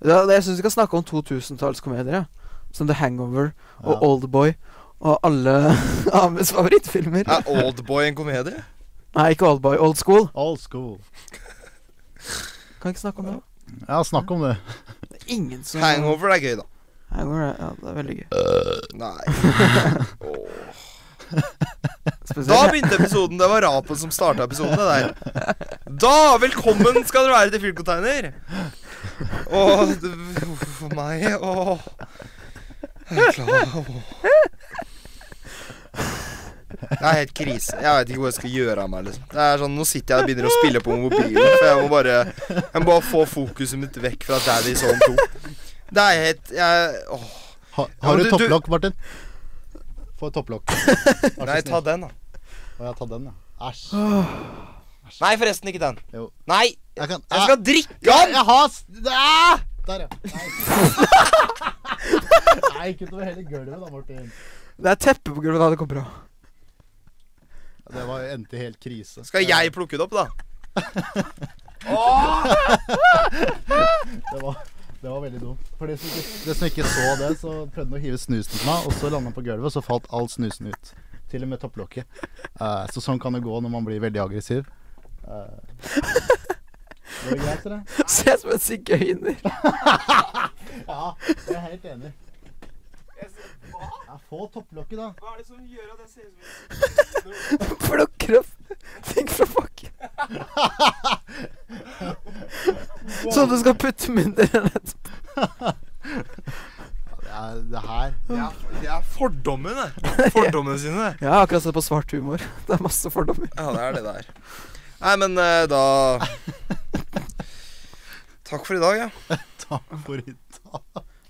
S1: Ja, det- Jeg syns vi skal snakke om 2000-tallskomedier. ja. Som The Hangover og
S3: Ja.
S1: Oldboy og alle Amunds favorittfilmer.
S2: Er Oldboy en komedie?
S1: Nei, ikke Oldboy. Old School.
S3: Old school.
S1: Kan vi ikke snakke om det.
S3: Ja, snakk om det.
S1: Det er Ingen som
S2: Hangover er gøy, da.
S1: Hangover er, ja, det er veldig gøy.
S2: Nei. Åh. Da
S1: Spesielt
S2: begynte episoden. Det var rapen som starta episoden. det der Da, velkommen skal dere være til Filmcontainer. Åh, det- uff, for meg Åh Jeg klarer- åh. Det er helt krise. Jeg veit ikke hvor jeg skal gjøre av meg. liksom Det er sånn, Nå sitter jeg og begynner å spille på mobilen, for jeg må bare Jeg må bare få fokuset mitt vekk fra Daddy Zone 2. Det er helt jeg, åh.
S3: Ha,
S2: men
S3: har du
S2: du- du-
S3: topplokk, Martin? Få et topplokk. Vær så
S2: Nei, ta
S3: snill.
S2: den, da.
S3: Å, ja, ta den, ja. Æsj.
S2: Nei, forresten, ikke den.
S3: Jo.
S2: Nei!
S3: Jeg kan
S2: Jeg skal drikke
S3: Ja,
S2: den!
S3: jeg har s- ah! Der, ja. Nei. Nei, ikke utover hele gulvet, da, Martin.
S1: Det er teppe på gulvet da det kommer fra.
S3: Ja, Det var endte i helt krise.
S2: Skal jeg plukke det opp, da?
S3: Det var, det var veldig dumt. For de som, ikke, de som ikke så det, så prøvde han å hive snusen på meg, og så landa han på gulvet, og så falt all snusen ut. Til og med topplokket. Eh, så sånn kan det gå når man blir veldig aggressiv. Eh, var det greit, eller?
S1: Se som en sigøyner.
S3: Ja, jeg er helt enig. Ja, få topplokket, da.
S5: Hva er det som gjør at jeg ser ut som en
S1: Plukker opp ting fra bakken. Som du skal putte mynter i nett.
S3: Det, er, det her
S2: Det er, det er fordommene. Fordommene sine.
S1: Jeg har akkurat sett på svart humor. Det er masse fordommer.
S2: Ja, det er det der. Nei, men eh, da Takk for i dag, ja.
S3: Takk for i dag.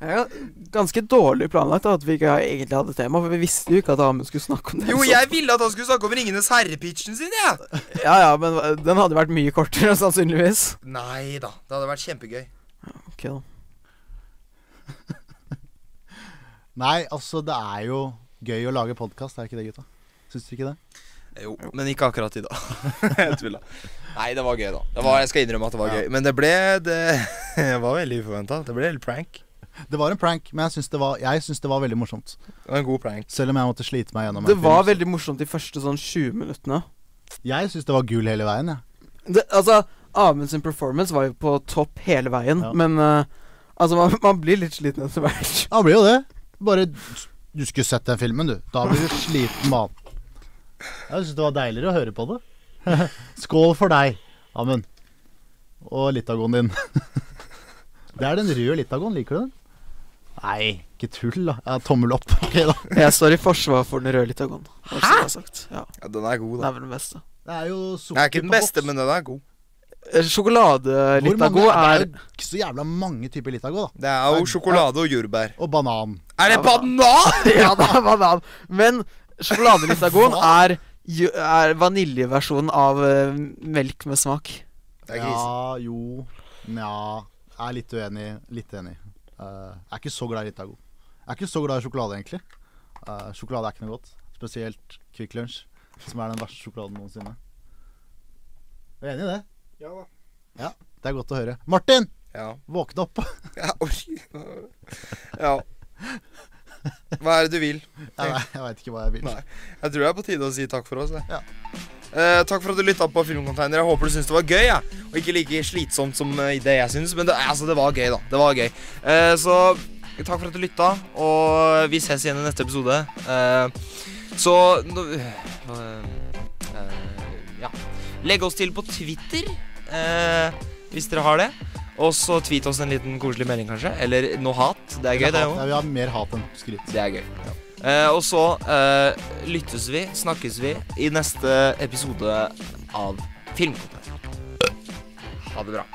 S1: Det er ganske dårlig planlagt da, at vi ikke egentlig hadde tema, for vi visste jo ikke at Amund skulle snakke om det.
S2: Jo,
S1: så-
S2: jeg ville at han skulle snakke om Ringenes herre-pitchen sin, jeg. Ja.
S1: Ja, ja, men eh, den hadde vært mye kortere, sannsynligvis.
S2: Nei da. Det hadde vært kjempegøy.
S1: Ok, da.
S3: Nei, altså, det er jo gøy å lage podkast, er det ikke det, gutta? Syns dere ikke det?
S2: Jo, men ikke akkurat i dag. jeg tulla. Nei, det var gøy, da. Det var, jeg skal innrømme at det var gøy. Men det ble Det var veldig uforventa. Det ble helt prank.
S3: Det var en prank, men jeg syns det, var- jeg syns det var veldig morsomt.
S2: Det var en god prank.
S3: Selv om jeg måtte slite meg gjennom en
S1: Det
S3: film,
S1: var
S3: så-
S1: veldig morsomt de første sånn 20 minuttene.
S3: Jeg syns det var gull hele veien, jeg.
S1: Det, altså, Amund sin performance var jo på topp hele veien,
S3: Ja.
S1: men eh, altså, man, man blir litt sliten etter hvert.
S3: Ja, han blir jo det. Bare Du skulle sett den filmen, du. Da blir du sliten mann. Jeg syns det var deiligere å høre på det. Skål for deg, Amund. Og Litagon din. Det er den røde Litagon. Liker du den? Nei, ikke tull, da. Ja, tommel opp. Ok, da.
S1: Jeg står i forsvar for den røde litagon. Hæ?! Sagt. Ja,
S2: Ja, den er god,
S1: den
S2: da.
S1: er vel den beste.
S3: Det er jo
S2: Den er ikke den beste, men den er god.
S1: Eh, Sjokoladelitago er
S3: Det er jo ikke så jævla mange typer Litago, da.
S2: Det er jo sjokolade og jordbær.
S3: Og banan.
S2: Er det banan?!
S1: Ja, det er banan. Men sjokoladelitagoen er, ju- er vaniljeversjonen av eh, melk med smak.
S2: Det er grisen.
S3: Ja, jo Nja. Jeg er litt uenig. Litt enig. Eh, jeg er ikke så glad i Litago. Jeg er ikke så glad i sjokolade, egentlig. Eh, sjokolade er ikke noe godt. Spesielt Kvikk Lunsj, som er den verste sjokoladen noensinne. Du er enig i det?
S5: Ja da.
S3: Det er godt å høre. Martin,
S2: Ja.
S3: våkne opp!
S2: Ja, oi. ja. Hva er det du vil?
S3: Jeg, vet- jeg veit ikke hva jeg vil.
S2: Nei. Jeg tror det er på tide å si takk for oss. jeg.
S3: Ja.
S2: Eh, takk for at du lytta på Filmcontainer. Jeg håper du syntes det var gøy. jeg. Og ikke like slitsomt som eh, det jeg syns, men det, altså, det var gøy, da. Det var gøy. Eh, så takk for at du lytta, og vi ses igjen i neste episode. Eh, så nå, eh, eh, Ja. Legg oss til på Twitter, eh, hvis dere har det. Og så tweet oss en liten koselig melding, kanskje. Eller noe hat. Det er gøy, det
S3: Hat-
S2: òg.
S3: Jeg vil ha mer hat enn skryt.
S2: Det er gøy. Eh, og så eh, lyttes vi, snakkes vi, i neste episode av Filmkontoret. Ha det bra.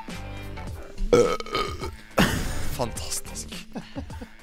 S2: Fantastisk.